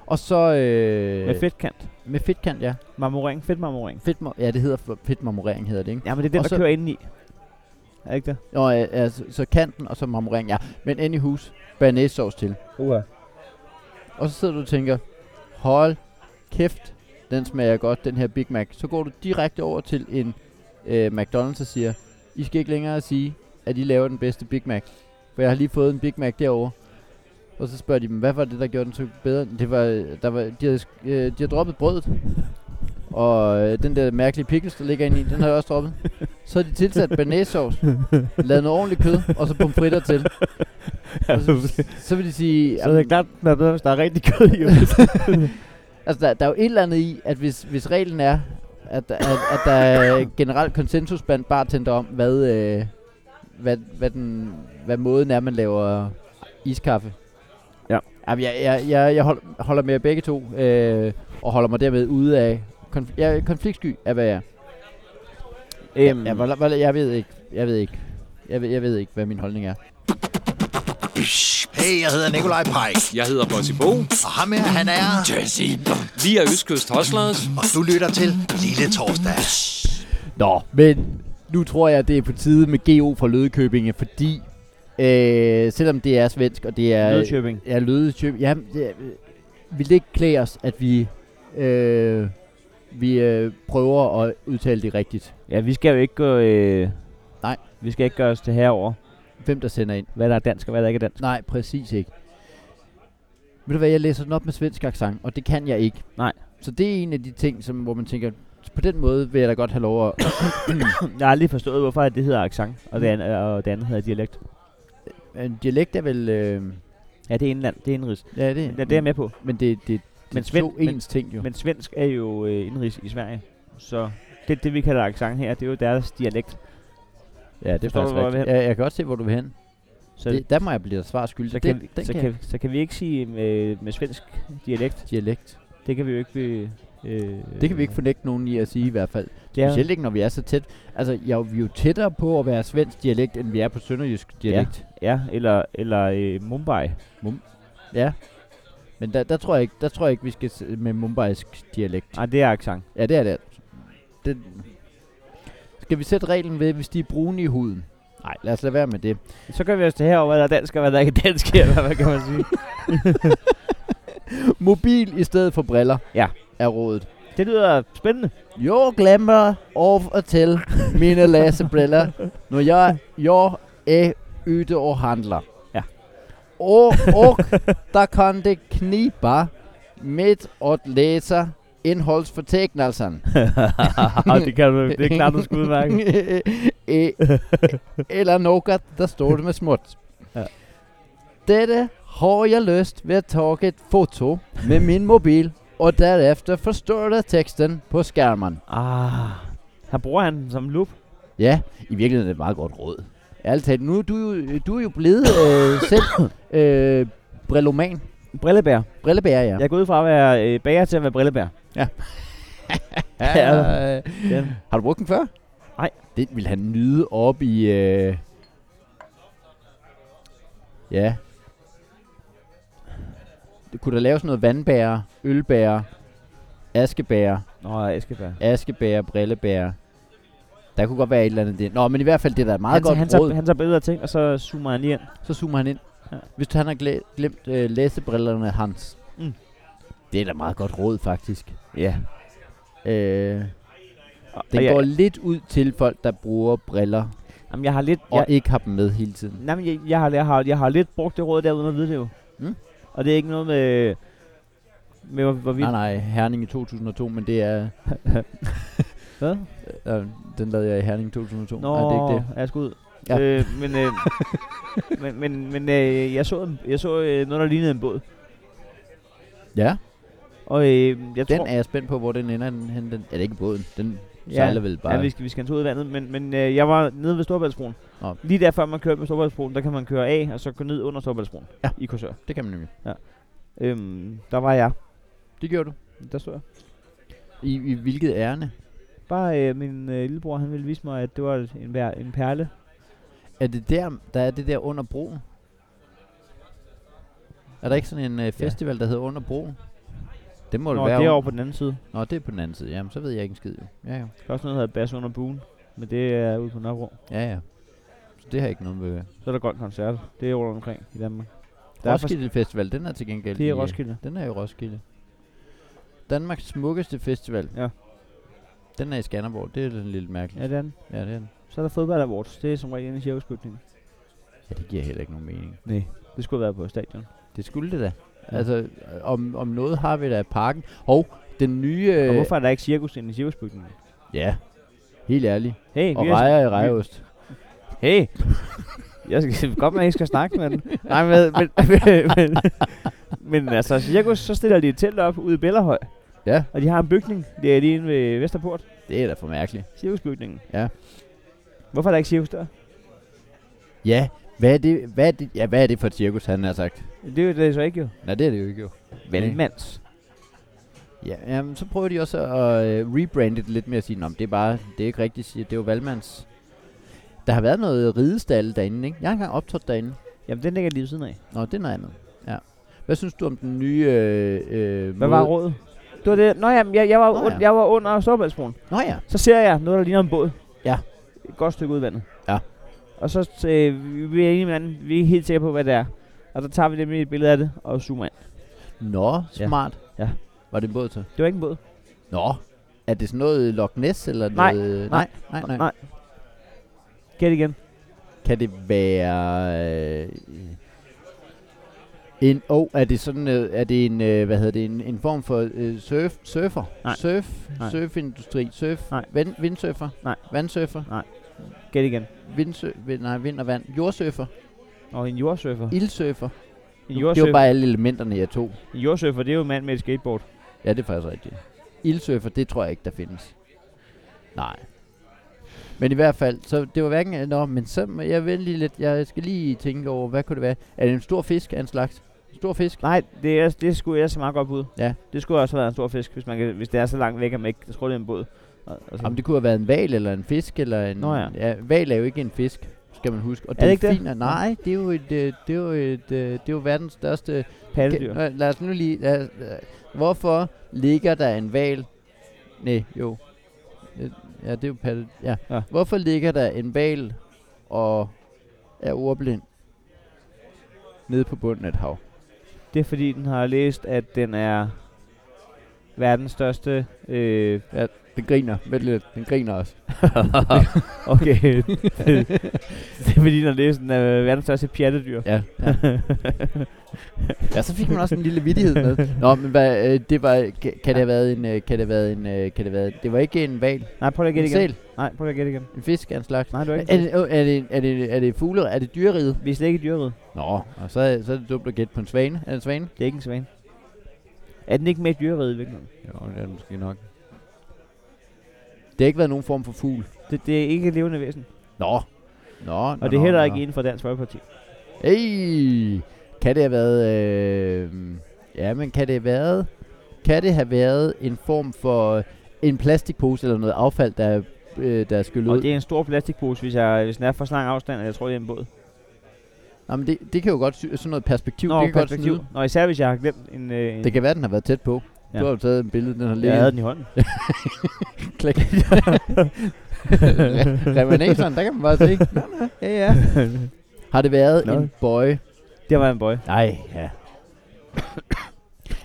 Speaker 3: Og så... Øh,
Speaker 2: Med fedtkant.
Speaker 3: Med fedtkant, ja.
Speaker 2: Marmorering. Fedtmarmorering.
Speaker 3: Fedtmor- ja, det hedder f- fedtmarmorering, hedder det, ikke?
Speaker 2: Ja, men det er den,
Speaker 3: Og
Speaker 2: der
Speaker 3: så-
Speaker 2: kører indeni. Er det ikke det?
Speaker 3: Nå, øh, ja, så, så kanten, og så marmorering, ja. Men ind i hus, banæssauce til.
Speaker 2: Uha.
Speaker 3: Og så sidder du og tænker, hold kæft, den smager godt, den her Big Mac. Så går du direkte over til en øh, McDonald's og siger, I skal ikke længere sige, at I laver den bedste Big Mac. For jeg har lige fået en Big Mac derovre. Og så spørger de dem, hvad var det, der gjorde den så bedre? Det var, der var, de, havde, sk- øh, de havde droppet brødet. Og øh, den der mærkelige pickles, der ligger inde i, den har jeg også droppet. Så har de tilsat banæssauce, lavet noget ordentligt kød, og så pomfritter til. Og så, så vil de sige...
Speaker 2: Så er
Speaker 3: "Jamen,
Speaker 2: det klart, den er bedre, hvis der er rigtig kød i.
Speaker 3: Altså, der, der er jo et eller andet i, at hvis, hvis reglen er, at, at, at der er generelt konsensus blandt bartender om, hvad, øh, hvad, hvad, den, hvad måden er, man laver iskaffe.
Speaker 2: Ja.
Speaker 3: Jamen, jeg, jeg, jeg, jeg hold, holder med jer begge to, øh, og holder mig dermed ude af... Konf- jeg er konfliktsky af, hvad jeg er.
Speaker 2: Øhm,
Speaker 3: Jeg, jeg, jeg, jeg ved ikke, jeg ved ikke, jeg ved, jeg ved ikke, hvad min holdning er.
Speaker 4: Hey, jeg hedder Nikolaj Pej,
Speaker 5: Jeg hedder Bossy Bo.
Speaker 4: og ham her, han er...
Speaker 5: Jazzy. Vi er Østkyst Hustlers.
Speaker 4: Og du lytter til Lille Torsdag.
Speaker 3: Nå, men nu tror jeg, det er på tide med GO fra Lødekøbinge, fordi øh, selvom det er svensk, og det er...
Speaker 2: Nødkøbing.
Speaker 3: Ja, Lødekøbing. Ja, det, er- vil det ikke klæde os, at vi, øh, vi øh, prøver at udtale det rigtigt?
Speaker 2: Ja, vi skal jo ikke gå... Øh,
Speaker 3: Nej.
Speaker 2: Vi skal ikke gøre os til herover,
Speaker 3: Hvem der sender ind?
Speaker 2: hvad der er dansk og hvad der ikke er dansk.
Speaker 3: Nej, præcis ikke. Ved du hvad, jeg læser den op med svensk accent, og det kan jeg ikke.
Speaker 2: Nej.
Speaker 3: Så det er en af de ting, som, hvor man tænker, på den måde vil jeg da godt have lov at...
Speaker 2: Jeg har aldrig forstået, hvorfor at det hedder accent, og det, andet, og det andet hedder dialekt.
Speaker 3: En dialekt er vel... Øh,
Speaker 2: Ja, det er indland, det er indrigs.
Speaker 3: ja, det,
Speaker 2: Ja, det er jeg med på.
Speaker 3: Men det, det, det
Speaker 2: Men
Speaker 3: men
Speaker 2: Svend-
Speaker 3: to
Speaker 2: men-
Speaker 3: ens ting jo.
Speaker 2: Men svensk er jo øh, indrigs i Sverige, så det, det vi kalder accent her, det er jo deres dialekt.
Speaker 3: ja, det er
Speaker 2: forstår du,
Speaker 3: faktisk
Speaker 2: hvor jeg vil
Speaker 3: rigtigt.
Speaker 2: hen?
Speaker 3: Ja, jeg kan godt se, hvor du vil hen.
Speaker 2: Så, det,
Speaker 3: Det, der må jeg blive dig svar skyldig.
Speaker 2: så,
Speaker 3: Det-
Speaker 2: kan, vi,
Speaker 3: den
Speaker 2: så, kan, vi- så kan vi ikke sige med, med svensk dialekt,
Speaker 3: Dialekt.
Speaker 2: det kan vi jo ikke, øh, Øh,
Speaker 3: Det kan vi ikke fornægte nogen i at sige i hvert fald. Ja.
Speaker 2: Ja.
Speaker 3: Specielt ikke, når vi er så tæt. Altså, jeg, er jo- vi er jo tættere på at være svensk dialekt, end vi er på sønderjysk dialekt.
Speaker 2: Ja, eller, eller øh, Mumbai.
Speaker 3: Ja. ja. Men der, der, tror jeg ikke, der tror jeg ikke, vi skal s- med mumbaisk dialekt.
Speaker 2: Nej, Ah, det er accent.
Speaker 3: Ja, det er det. det. Skal vi sætte reglen ved, hvis de er brune i huden? Nej, lad os lade være med det.
Speaker 2: Så kan vi også det her over, hvad der er dansk og hvad der ikke er dansk, eller hvad kan man sige?
Speaker 3: Mobil i stedet for briller
Speaker 2: Ja.
Speaker 3: er rådet.
Speaker 2: Det lyder spændende.
Speaker 3: Jeg glemmer af og til mine læsebriller, når jeg, jeg er ude og handler.
Speaker 2: Ja.
Speaker 3: Og, og der kan det knibe med at læse indholdsfortegnelserne.
Speaker 2: Ah, det kan du, det er klart, du skal udmærke.
Speaker 3: E- Eller noget, der står det med småt.
Speaker 2: Ja.
Speaker 3: Dette har jeg lyst ved at tage et foto med min mobil, og derefter forstørre teksten på skærmen.
Speaker 2: Ah, han bruger han den som lup.
Speaker 3: Ja, i virkeligheden er det et meget godt råd. Ærligt talt, nu er du jo, du er jo blevet øh, selv øh, brilloman.
Speaker 2: Brillebær.
Speaker 3: Brillebærer, ja.
Speaker 2: Jeg går ud fra at være øh, bager til at være brillebær.
Speaker 3: ja. Øh,
Speaker 2: Ja.
Speaker 3: har du brugt den før?
Speaker 2: Nej.
Speaker 3: Det vil han nyde op i... Øh... Ja. Det kunne der laves noget vandbærer, ølbærer, askebærer,
Speaker 2: Nå, Eskebær.
Speaker 3: askebærer, brillebærer. Der kunne godt være et eller andet i det. Nå, men i hvert fald det er da et meget
Speaker 2: Han,
Speaker 3: godt
Speaker 2: han,
Speaker 3: råd.
Speaker 2: tager, han tager billeder af ting, og så zoomer han lige ind.
Speaker 3: Så zoomer han ind. Ja.
Speaker 2: Ja.
Speaker 3: Hvis han har glæ- glemt øh, læsebrillerne hans. Mm.
Speaker 2: Mm.
Speaker 3: Det er da meget godt råd, faktisk.
Speaker 2: Ja.
Speaker 3: Øh,
Speaker 2: Og,
Speaker 3: det
Speaker 2: og
Speaker 3: går
Speaker 2: jeg,
Speaker 3: lidt ud til folk, der bruger briller
Speaker 2: jamen, jeg har lidt...
Speaker 3: og
Speaker 2: Jeg,
Speaker 3: ikke har dem med hele tiden.
Speaker 2: nej, men jeg, jeg, har, jeg, har, jeg har lidt brugt det råd der, uden at vide det jo.
Speaker 3: Mm.
Speaker 2: Og det er ikke noget med... Med hvor, hvor vi...
Speaker 3: Nej, nej, Herning i 2002, men det er...
Speaker 2: Hvad?
Speaker 3: Øh, den lavede jeg i Herning i 2002.
Speaker 2: Nå,
Speaker 3: Nej, det er ikke det.
Speaker 2: det. jeg skal ud.
Speaker 3: Ja.
Speaker 2: Ja. Øh, men, øh, men, men, men øh, jeg så, en, jeg så øh, noget, der lignede en båd.
Speaker 3: Ja,
Speaker 2: Og øh, jeg tror...
Speaker 3: den er jeg spændt på, hvor den ender henne. Den, er det ikke båden? Den ja. sejler vel bare.
Speaker 2: Ja, vi skal, vi skal en tur ud i vandet, men, men øh, jeg var nede ved Storbæltsbroen.
Speaker 3: Nå.
Speaker 2: Lige der før man kører med Storbæltsbroen, der kan man køre af, og så gå ned under Storbæltsbroen
Speaker 3: Ja.
Speaker 2: i Korsør.
Speaker 3: Det kan man nemlig.
Speaker 2: Øhm, der var jeg.
Speaker 3: Det gjorde du.
Speaker 2: Der så jeg.
Speaker 3: I, i hvilket ærne?
Speaker 2: Bare øh, min øh, lillebror, han ville vise mig, at det var en, vær- en perle.
Speaker 3: Er det der, der er det der under broen? Er der ikke sådan en øh, festival, ja. der hedder Under broen? Det må
Speaker 2: Nå,
Speaker 3: det være.
Speaker 2: det er
Speaker 3: under-
Speaker 2: over på den anden side.
Speaker 3: Nå, det er på den anden side. Jamen, så ved jeg ikke en skid jo. Ja, ja.
Speaker 2: Der er også noget, der hedder Bass under buen, men det er ude på Nørrebro.
Speaker 3: Ja, ja. Så det har ikke noget med...
Speaker 2: Så er der godt koncert. Det er rundt omkring i Danmark. Der er
Speaker 3: Roskilde Festival, den er til gengæld...
Speaker 2: Det er
Speaker 3: i, øh,
Speaker 2: Roskilde.
Speaker 3: Den er i Roskilde. Danmarks smukkeste festival.
Speaker 2: Ja.
Speaker 3: Den er i Skanderborg. Det er sådan lidt
Speaker 2: Ja,
Speaker 3: mærkeligt.
Speaker 2: det er den.
Speaker 3: Ja, det er den.
Speaker 2: Så er der fodbold awards. Det er som regel inde i cirkusbygningen.
Speaker 3: Ja, det giver heller ikke nogen mening.
Speaker 2: Nej. Det skulle have været på stadion.
Speaker 3: Det skulle det da. Altså, øh, om, om noget har vi da parken. Og den nye...
Speaker 2: Øh. Og
Speaker 3: øh,
Speaker 2: hvorfor er der ikke cirkus inde i cirkusbygningen?
Speaker 3: Ja. Helt ærligt.
Speaker 2: Hey,
Speaker 3: Og
Speaker 2: vi har,
Speaker 3: rejer i rejeost.
Speaker 2: Hey! Jeg skal godt, man ikke skal snakke med den. Nej, men, men, men, men, men altså, cirkus, så stiller de et telt op ude i Bellerhøj.
Speaker 3: Ja.
Speaker 2: Og de har en bygning, det er lige inde ved Vesterport,
Speaker 3: Det er da for mærkeligt.
Speaker 2: cirkusbygningen.
Speaker 3: Ja.
Speaker 2: Hvorfor er der ikke cirkus der?
Speaker 3: Ja, hvad er det, hvad er det, ja, hvad er det for et cirkus, han har sagt?
Speaker 2: Det er jo det så ikke jo.
Speaker 3: Nej, det er det jo ikke jo.
Speaker 2: Valmands.
Speaker 3: Ja, jamen, så prøver de også at øh, rebrande det lidt med at sige, Nå, men det er bare, det er ikke rigtigt, siger- det er jo Valmands. Der har været noget ridestal derinde, ikke? Jeg har engang optrådt derinde.
Speaker 2: Jamen, den ligger lige ved siden af.
Speaker 3: Nå, det er noget andet. Ja. Hvad synes du om den nye øh, øh,
Speaker 2: Hvad var rådet? Det var det. Nå ja, jeg, jeg, var,
Speaker 3: Nå,
Speaker 2: Nå,
Speaker 3: ja.
Speaker 2: ja. jeg var under Storbritannien.
Speaker 3: Nå ja.
Speaker 2: Så ser jeg noget, der ligner en båd.
Speaker 3: Ja.
Speaker 2: Et godt stykke ud i vandet.
Speaker 3: Ja.
Speaker 2: Og så øh, vi- vi er enige med hinanden, vi er ikke helt sikre på, hvad det er. Og så tager vi nemlig et billede af det og zoomer ind.
Speaker 3: Nå,
Speaker 2: Ja.
Speaker 3: smart.
Speaker 2: Ja.
Speaker 3: Var det en båd til?
Speaker 2: Det var ikke en båd.
Speaker 3: Nå. Er det sådan noget Loch Ness eller
Speaker 2: Nej,
Speaker 3: noget?
Speaker 2: nej,
Speaker 3: nej, nej, nej.
Speaker 2: nej. Gæt igen.
Speaker 3: Kan det være øh, en oh, er det sådan øh, er det en øh, hvad hedder det en, en form for øh, surf surfer?
Speaker 2: Nej.
Speaker 3: Surf
Speaker 2: Nej.
Speaker 3: surfindustri, surf
Speaker 2: Nej.
Speaker 3: Vand, vindsurfer?
Speaker 2: Nej.
Speaker 3: Vandsurfer?
Speaker 2: Gæt igen.
Speaker 3: Vindsø, vind, nej, vind og vand. Jordsurfer,
Speaker 2: Og en jordsurfer.
Speaker 3: ildsurfer.
Speaker 2: En
Speaker 3: Det var
Speaker 2: jordsurfer,
Speaker 3: bare alle elementerne jeg tog.
Speaker 2: en jordsurfer det er jo en mand med et skateboard.
Speaker 3: Ja, det er faktisk rigtigt. Ildsurfer, det tror jeg ikke der findes. Nej. Men i hvert fald, så det var hverken... Nå, men så må jeg vente lige lidt. Jeg skal lige tænke over, hvad kunne det være? Er det en stor fisk af en slags? Stor fisk.
Speaker 2: Nej, det, er, det skulle jeg så meget godt bud.
Speaker 3: Ja.
Speaker 2: Det skulle også have været en stor fisk, hvis, man kan, hvis det er så langt væk, at man ikke jeg tror, det er en båd. Og, og
Speaker 3: Jamen, det kunne have været en val eller en fisk eller en...
Speaker 2: Nå ja.
Speaker 3: ja val er jo ikke en fisk, skal man huske. Og
Speaker 2: Er det ikke det?
Speaker 3: delfiner- Nej, det er jo et, øh, det er jo et, øh, det er jo verdens største...
Speaker 2: pattedyr.
Speaker 3: Nå, Lad os nu lige... Lad os, øh, hvorfor ligger der en val? Nej, jo. Øh, Ja, det er jo patte... Ja.
Speaker 2: Ja.
Speaker 3: ja. Hvorfor ligger der en val og er ordblind nede på bunden af et hav?
Speaker 2: Det er fordi, den har læst, at den er verdens største... Øh,
Speaker 3: Den griner. Vent lidt. Den griner også.
Speaker 2: okay. det er fordi, den har læst, den er verdens største pjattedyr.
Speaker 3: Ja, ja. ja, så fik man også en lille vittighed med. Nå, men hvad, øh, det var, kan, kan det have været en, øh, kan det have været en, øh, kan det have været, det var ikke en val,
Speaker 2: Nej, prøv lige at
Speaker 3: en
Speaker 2: gætte igen.
Speaker 3: sæl,
Speaker 2: Nej, prøv lige at gætte igen.
Speaker 3: en fisk af en slags.
Speaker 2: Nej, du er
Speaker 3: Er
Speaker 2: ikke.
Speaker 3: det, åh, er det, er det, er det fugle, er det dyreriget?
Speaker 2: Vi er slet ikke i dyreriget.
Speaker 3: Nå, og så, er- så er det dumt at gætte på en svane. Er det en svane?
Speaker 2: Det er ikke en svane. Er den ikke med i dyreriget i virkeligheden?
Speaker 3: Jo, det er det måske nok. Det har ikke været nogen form for fugl.
Speaker 2: Det, det er ikke et levende væsen.
Speaker 3: Nå. Nå,
Speaker 2: Og det er heller ikke inden for Dansk Folkeparti.
Speaker 3: Hey, kan det have været... Øh, ja, men kan det have været... Kan det have været en form for øh, en plastikpose eller noget affald, der, er, øh, der er skyllet
Speaker 2: Og
Speaker 3: ud?
Speaker 2: det er en stor plastikpose, hvis, jeg, hvis den er for lang afstand, og jeg tror, det er en båd.
Speaker 3: Nå, men det, det kan jo godt sy- sådan noget perspektiv.
Speaker 2: Nå,
Speaker 3: det kan
Speaker 2: perspektiv.
Speaker 3: Godt snyde.
Speaker 2: Nå, især hvis jeg har glemt en... Øh, en
Speaker 3: det kan være, den har været tæt på.
Speaker 2: Ja.
Speaker 3: Ja. Du har jo taget en billede, den har
Speaker 2: jeg havde
Speaker 3: ligget.
Speaker 2: den i hånden.
Speaker 3: Klik. Remanatoren, der kan man bare se. Nå, nå, ja, ja. Har det været
Speaker 2: Nå.
Speaker 3: en bøje?
Speaker 2: Det var en bøj.
Speaker 3: Nej, ja.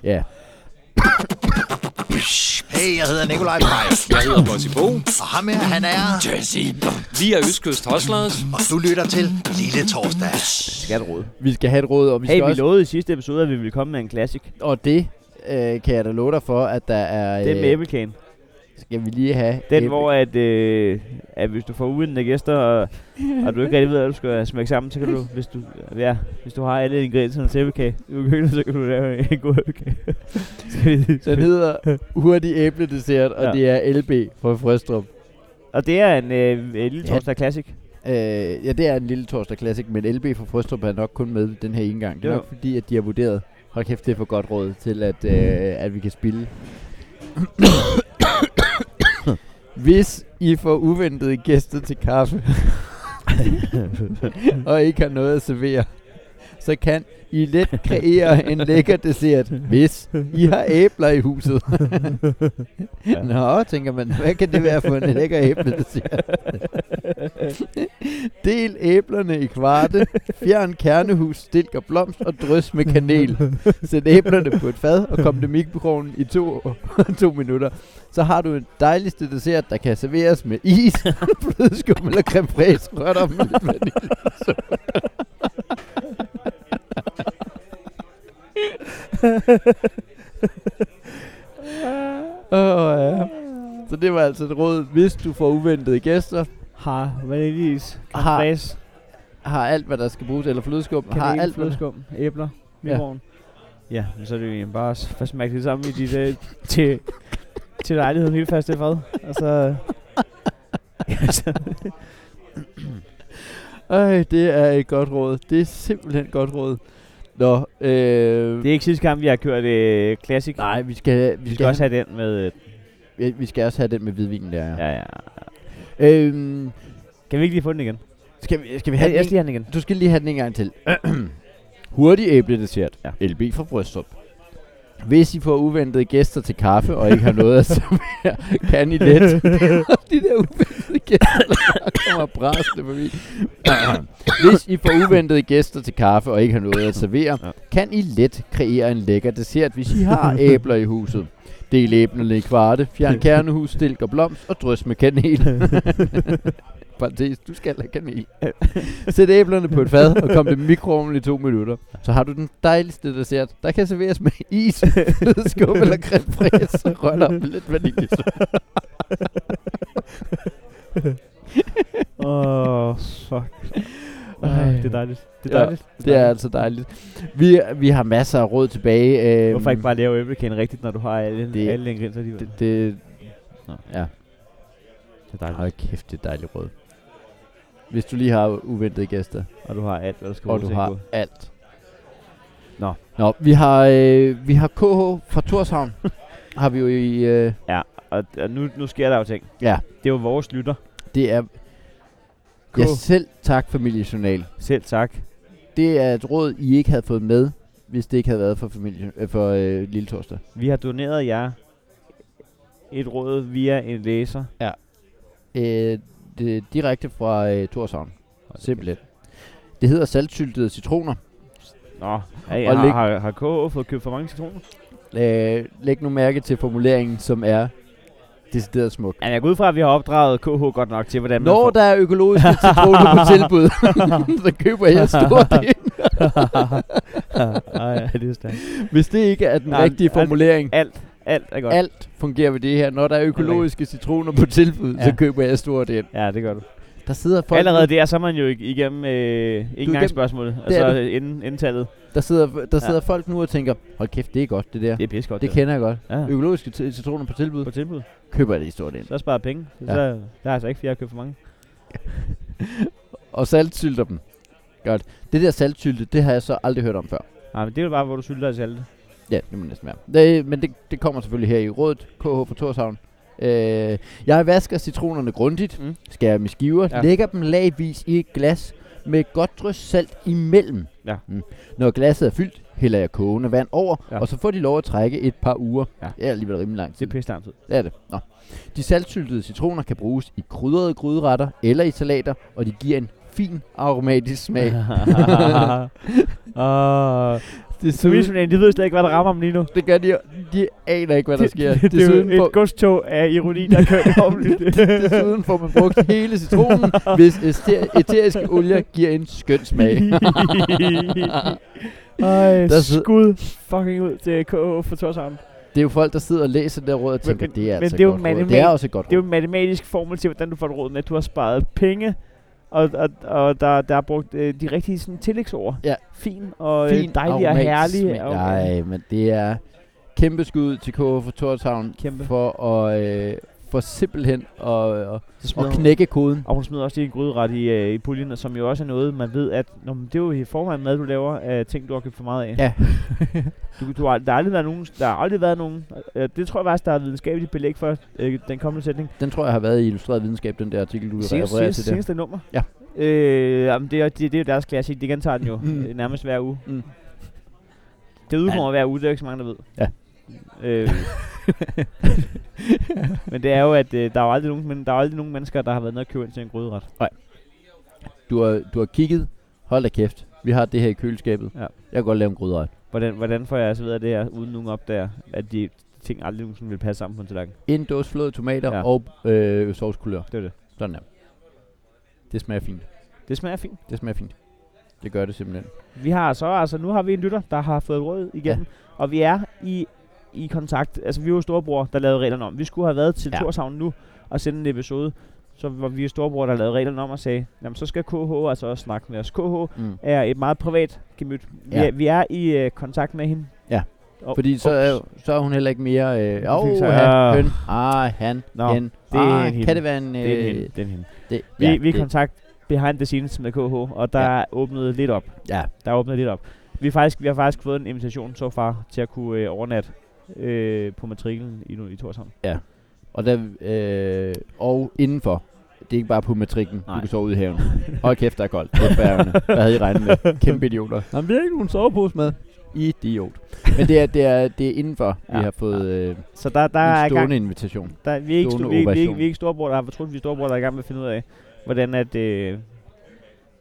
Speaker 3: ja.
Speaker 4: Hey, jeg hedder Nikolaj Pej,
Speaker 5: Jeg hedder Bossy Bo.
Speaker 4: og ham her, han er...
Speaker 5: Vi er Østkyst Hoslers.
Speaker 4: Og du lytter til Lille Torsdag.
Speaker 2: Skatteråd.
Speaker 3: Vi skal have et råd, og vi skal
Speaker 2: Hey, vi
Speaker 3: også...
Speaker 2: lovede i sidste episode, at vi ville komme med en klassik.
Speaker 3: Og det øh, kan jeg da love dig for, at der er... øh,
Speaker 2: Det er med æblekagen.
Speaker 3: Skal vi lige have...
Speaker 2: Den,
Speaker 3: æble-
Speaker 2: hvor at, øh, at hvis du får uindende gæster, og, og du ikke rigtig ved, hvad du skal smække sammen, så kan du, hvis du, ja, hvis du har alle ingredienserne til æblekage i køkkenet, så kan du lave en god æblekage. Skal vi-
Speaker 3: Den hedder Hurtig æbledessert, og
Speaker 2: Ja.
Speaker 3: ja. det er LB fra Frøstrup.
Speaker 2: og det er en øh, øh, lille
Speaker 3: Ja.
Speaker 2: torsdag klassik.
Speaker 3: Øh, ja, det er en lille torsdag classic, men LB fra Frøstrup er nok kun med den her ene gang. Det er
Speaker 2: Jo.
Speaker 3: nok fordi, at de har vurderet, hold kæft, det er for godt råd til, at, øh, at vi kan spille. Hvis I får uventede gæster til kaffe, og ikke har noget at servere, så kan I let kreere en lækker dessert, hvis I har æbler i huset. ja. Nå, tænker man, hvad kan det være for en lækker æbledessert? Del æblerne i kvarte, fjern kernehus, stilk og blomst og drys med kanel. Sæt æblerne på et fad og kom det i mikroovnen i to, to minutter. Så har du en dejligste dessert, der kan serveres med is, flødeskum eller creme fraise, rørt om med lidt vanilje. Åh, ja. Så det var altså et råd, hvis du får uventede gæster,
Speaker 2: Har vaniljeis,
Speaker 3: har,
Speaker 2: græs,
Speaker 3: har alt, hvad der skal bruges, eller flødeskum, har
Speaker 2: kanel,
Speaker 3: alt, hvad der-
Speaker 2: flødeskum, æbler,
Speaker 3: Ja.
Speaker 2: mikroovn. Ja. ja, så er det jo egentlig bare at at smage det sammen i dit, øh, til, til lejligheden helt fast i fred. Og så... ja, så-
Speaker 3: Ej, det er et godt råd. Det er simpelthen et godt råd. Nå, øh,
Speaker 2: det er ikke sidste kamp, vi har kørt øh, klassik.
Speaker 3: nej, vi skal,
Speaker 2: vi skal også have den med... Øh,
Speaker 3: have, vi skal også have den med hvidvinen der. Ja.
Speaker 2: ja, ja.
Speaker 3: Øhm,
Speaker 2: Kan vi ikke lige få den igen?
Speaker 3: skal, vi, skal vi
Speaker 2: Ja,
Speaker 3: have
Speaker 2: jeg
Speaker 3: den
Speaker 2: skal lige have den igen.
Speaker 3: Du skal lige have den en gang til. Hurtig æbledessert.
Speaker 2: Ja.
Speaker 3: LB fra Brøstrup. Hvis I får uventede gæster til kaffe, og ikke har noget at servere, kan I let. De der uventede gæster, der kommer bræsende forbi. Hvis I får uventede gæster til kaffe, og ikke har noget at servere, kan I let kreere en lækker dessert, hvis I har æbler i huset. Del æblerne i kvarte, fjern kernehus, stilk og blomst, og drys med kanel. Parenthes, du skal have kanel. Sæt æblerne på et fad og kom det i mikroovnen i to minutter. Så har du den dejligste dessert, der kan serveres med is, flødeskum eller creme fraise, rørt op med lidt vanilje.
Speaker 2: Åh, oh, fuck.
Speaker 3: Ej.
Speaker 2: Ej, det er dejligt. Det er
Speaker 3: Ja,
Speaker 2: dejligt.
Speaker 3: Det er altså dejligt. Vi, vi har masser af råd tilbage. øhm,
Speaker 2: Hvorfor ikke bare lave æblekagen rigtigt, når du har alle,
Speaker 3: Det-
Speaker 2: alle ingredienser alligevel?
Speaker 3: Det, det,
Speaker 2: Nå.
Speaker 3: ja,
Speaker 2: det er dejligt.
Speaker 3: hold kæft, det er dejligt råd. Hvis du lige har uventede gæster,
Speaker 2: Og du har alt, hvad du skal bruge
Speaker 3: og du
Speaker 2: til en
Speaker 3: har
Speaker 2: god-
Speaker 3: alt.
Speaker 2: Nå.
Speaker 3: Nå, vi har, øh, vi har KH fra Torshavn. har vi jo i... Øh,
Speaker 2: Og, og nu, nu sker der jo ting.
Speaker 3: Ja.
Speaker 2: Det er jo vores lytter.
Speaker 3: det er...
Speaker 2: K.
Speaker 3: Ja, selv tak, familiejournal.
Speaker 2: Selv tak.
Speaker 3: Det er et råd, I ikke havde fået med, hvis det ikke havde været for, familie, øh, for øh, Lille Torsdag.
Speaker 2: Vi har doneret jer et råd via en læser.
Speaker 3: Øh, det er direkte fra øh, Torshavn. Simpelthen. Det hedder saltsyltede citroner.
Speaker 2: Nå, hey,
Speaker 3: Og
Speaker 2: har,
Speaker 3: læg-
Speaker 2: har, har KH fået købt for mange citroner?
Speaker 3: Øh, læg nu mærke til formuleringen, som er decideret smuk.
Speaker 2: Ja, jeg går ud fra, at vi har opdraget KH godt nok til, hvordan
Speaker 3: Når
Speaker 2: man
Speaker 3: der er økologiske citroner på tilbud, så køber jeg stort ind.
Speaker 2: får... Ej, ja, det er stærkt.
Speaker 3: Hvis det ikke er den
Speaker 2: Nej,
Speaker 3: rigtige
Speaker 2: alt-
Speaker 3: formulering,
Speaker 2: Alt er godt.
Speaker 3: alt fungerer ved det her. Når der er økologiske citroner på tilbud,
Speaker 2: Ja.
Speaker 3: så køber jeg stort ind.
Speaker 2: Ja, det gør du.
Speaker 3: Der sidder folk,
Speaker 2: Allerede der, så er man jo ig- igennem øh, ikke
Speaker 3: igennem-
Speaker 2: engang spørgsmålet. Og
Speaker 3: Det er
Speaker 2: så inden, indtallet.
Speaker 3: der sidder, der sidder
Speaker 2: Ja.
Speaker 3: folk nu og tænker, hold kæft, det er godt det der.
Speaker 2: Det er pisse godt.
Speaker 3: Det kender jeg godt.
Speaker 2: ja.
Speaker 3: Økologiske ci- citroner på tilbud,
Speaker 2: på tilbud.
Speaker 3: køber jeg det i stort ind.
Speaker 2: Så sparer jeg penge. Så,
Speaker 3: Ja.
Speaker 2: så der er altså ikke flere, jeg har købt for mange.
Speaker 3: Og saltsylter dem. Godt. Det der saltsylte, det har jeg så aldrig hørt om før.
Speaker 2: Nej, men det er jo bare, hvor du sylter i salte.
Speaker 3: Ja, det må næsten være. Det, men det, det kommer selvfølgelig her i rådet. KH på Torshavn. Øh, jeg vasker citronerne grundigt,
Speaker 2: Mm.
Speaker 3: mm. skærer dem i skiver,
Speaker 2: Ja.
Speaker 3: ja. lægger dem lagvis i et glas med et godt drys salt imellem.
Speaker 2: Ja.
Speaker 3: Mm. Når glasset er fyldt, hælder jeg kogende vand over,
Speaker 2: Ja.
Speaker 3: ja. og så får de lov at trække et par uger.
Speaker 2: Ja.
Speaker 3: Det er alligevel rimelig lang
Speaker 2: Det
Speaker 3: tid.
Speaker 2: er pisse lang tid.
Speaker 3: Det er det. Nå. De saltsyltede citroner kan bruges i krydrede gryderetter eller i salater, og de giver en fin aromatisk smag.
Speaker 2: Åh.
Speaker 3: det,
Speaker 2: Familiejournalen, de ved slet ikke, hvad der rammer dem lige nu.
Speaker 3: det gør de, de aner ikke, hvad der sker.
Speaker 2: det, det, er
Speaker 3: Desuden
Speaker 2: jo
Speaker 3: får-
Speaker 2: et godstog af ironi, der kører om lidt.
Speaker 3: Desuden får man brugt hele citronen, hvis æster- æteriske olier giver en skøn smag.
Speaker 2: Ej,
Speaker 3: Der
Speaker 2: der
Speaker 3: sid-
Speaker 2: skud fucking ud til KH for Torshavn.
Speaker 3: Det er jo folk, der sidder og læser det der råd og tænker,
Speaker 2: men-
Speaker 3: det er
Speaker 2: men
Speaker 3: altså
Speaker 2: det er jo
Speaker 3: et godt råd.
Speaker 2: manual-
Speaker 3: Det er også et godt
Speaker 2: Det er jo
Speaker 3: råd.
Speaker 2: en matematisk formel til, hvordan du får et råd med, at du har sparet penge, og, og, og der, der er brugt øh, de rigtige sådan, tillægsord.
Speaker 3: Ja.
Speaker 2: Fin og fin, øh, dejlig og
Speaker 3: aromatisk
Speaker 2: herlig.
Speaker 3: smag.
Speaker 2: og-
Speaker 3: Nej, men det er kæmpe skud til KF for Torshavn
Speaker 2: Kæmpe.
Speaker 3: for, at, øh, for simpelthen at, at,
Speaker 2: Så smider
Speaker 3: at
Speaker 2: hun-
Speaker 3: knække koden.
Speaker 2: Og hun smider også lige en gryderet i, øh, i puljen, og som jo også er noget, man ved, at når, det er jo i forvejen mad, du laver af ting, du har købt for meget af.
Speaker 3: Ja.
Speaker 2: Du, du har, der har aldrig været nogen, der har aldrig været nogen, øh, det tror jeg faktisk, der er videnskabeligt belæg for øh, den kommende sætning.
Speaker 3: Den tror jeg har været i Illustreret Videnskab, den der artikel, du refererer til der.
Speaker 2: seneste nummer.
Speaker 3: Ja.
Speaker 2: Øh, jamen det, er, det, det er jo deres klassik, det gentager den jo
Speaker 3: Mm.
Speaker 2: øh, nærmest hver uge.
Speaker 3: Mm.
Speaker 2: Det udkommer hver uge, det er jo ikke så mange, der ved.
Speaker 3: Ja.
Speaker 2: Øh, men det er jo, at øh, der, er jo aldrig nogen, men der er aldrig nogen mennesker, der har været nede og købe ind til en gryderet.
Speaker 3: Du har, du har kigget. Hold da kæft. Vi har det her i køleskabet.
Speaker 2: Ja.
Speaker 3: Jeg kan godt lave en gryderet.
Speaker 2: Hvordan, hvordan får jeg altså ved af det her, uden nogen opdager, at de ting aldrig nogensinde vil passe sammen på en tallerken?
Speaker 3: En dåse flåede tomater
Speaker 2: Ja.
Speaker 3: ja. og øh, sovskulør.
Speaker 2: Det er det.
Speaker 3: Sådan der. Det smager fint.
Speaker 2: Det smager fint.
Speaker 3: Det smager fint. Det gør det simpelthen.
Speaker 2: Vi har så, altså nu har vi en lytter, der har fået råd igennem, ja. og vi er i, i kontakt. Altså vi er jo storebror, der lavede reglerne om. Vi skulle have været til ja.
Speaker 3: Ja.
Speaker 2: Torshavn nu og sende en episode, så var vi storebror, der lavede reglerne om og sagde, jamen så skal KH altså også snakke med os. KH
Speaker 3: Mm.
Speaker 2: er et meget privat gemyt. Vi,
Speaker 3: Ja.
Speaker 2: er, vi er i øh, kontakt med hende.
Speaker 3: Ja.
Speaker 2: Og,
Speaker 3: Fordi så
Speaker 2: ups.
Speaker 3: er, så er hun heller ikke mere... Øh,
Speaker 2: fik
Speaker 3: Åh, oh,
Speaker 2: sig-
Speaker 3: han,
Speaker 2: Ah.
Speaker 3: høn. Ah, han,
Speaker 2: Nå,
Speaker 3: Nå, hen.
Speaker 2: det er en
Speaker 3: ah,
Speaker 2: hende.
Speaker 3: kan det være en... Øh,
Speaker 2: det er en hende. Det er en hende.
Speaker 3: Det,
Speaker 2: Vi, ja, vi er i
Speaker 3: det,
Speaker 2: kontakt behind the scenes med KH, og der ja.
Speaker 3: Ja.
Speaker 2: åbnede lidt op.
Speaker 3: ja,
Speaker 2: der åbner lidt op. Vi, er faktisk, vi har faktisk fået en invitation så far til at kunne øh, overnatte øh, på matriklen i, nu- i Torshavn.
Speaker 3: og, der, øh, og indenfor. Det er ikke bare på matrikken.
Speaker 2: Nej.
Speaker 3: Du kan sove ude i haven. Hold kæft, der er koldt. Det er færgerne. Hvad havde I regnet med? Kæmpe idioter. Jamen, vi har ikke nogen sovepose med. Idiot. Men det er, det er, det er indenfor, ja.
Speaker 2: Ja.
Speaker 3: vi har fået øh, en
Speaker 2: Så der, der er i gang.
Speaker 3: stående invitation.
Speaker 2: Der, vi, er ikke, stu-
Speaker 3: stående
Speaker 2: vi, er ikke- vi, er ikke,
Speaker 3: ovation.
Speaker 2: vi er ikke storebror, der har fortrudt, vi er storebror, der er i gang med at finde ud af, hvordan at... Øh,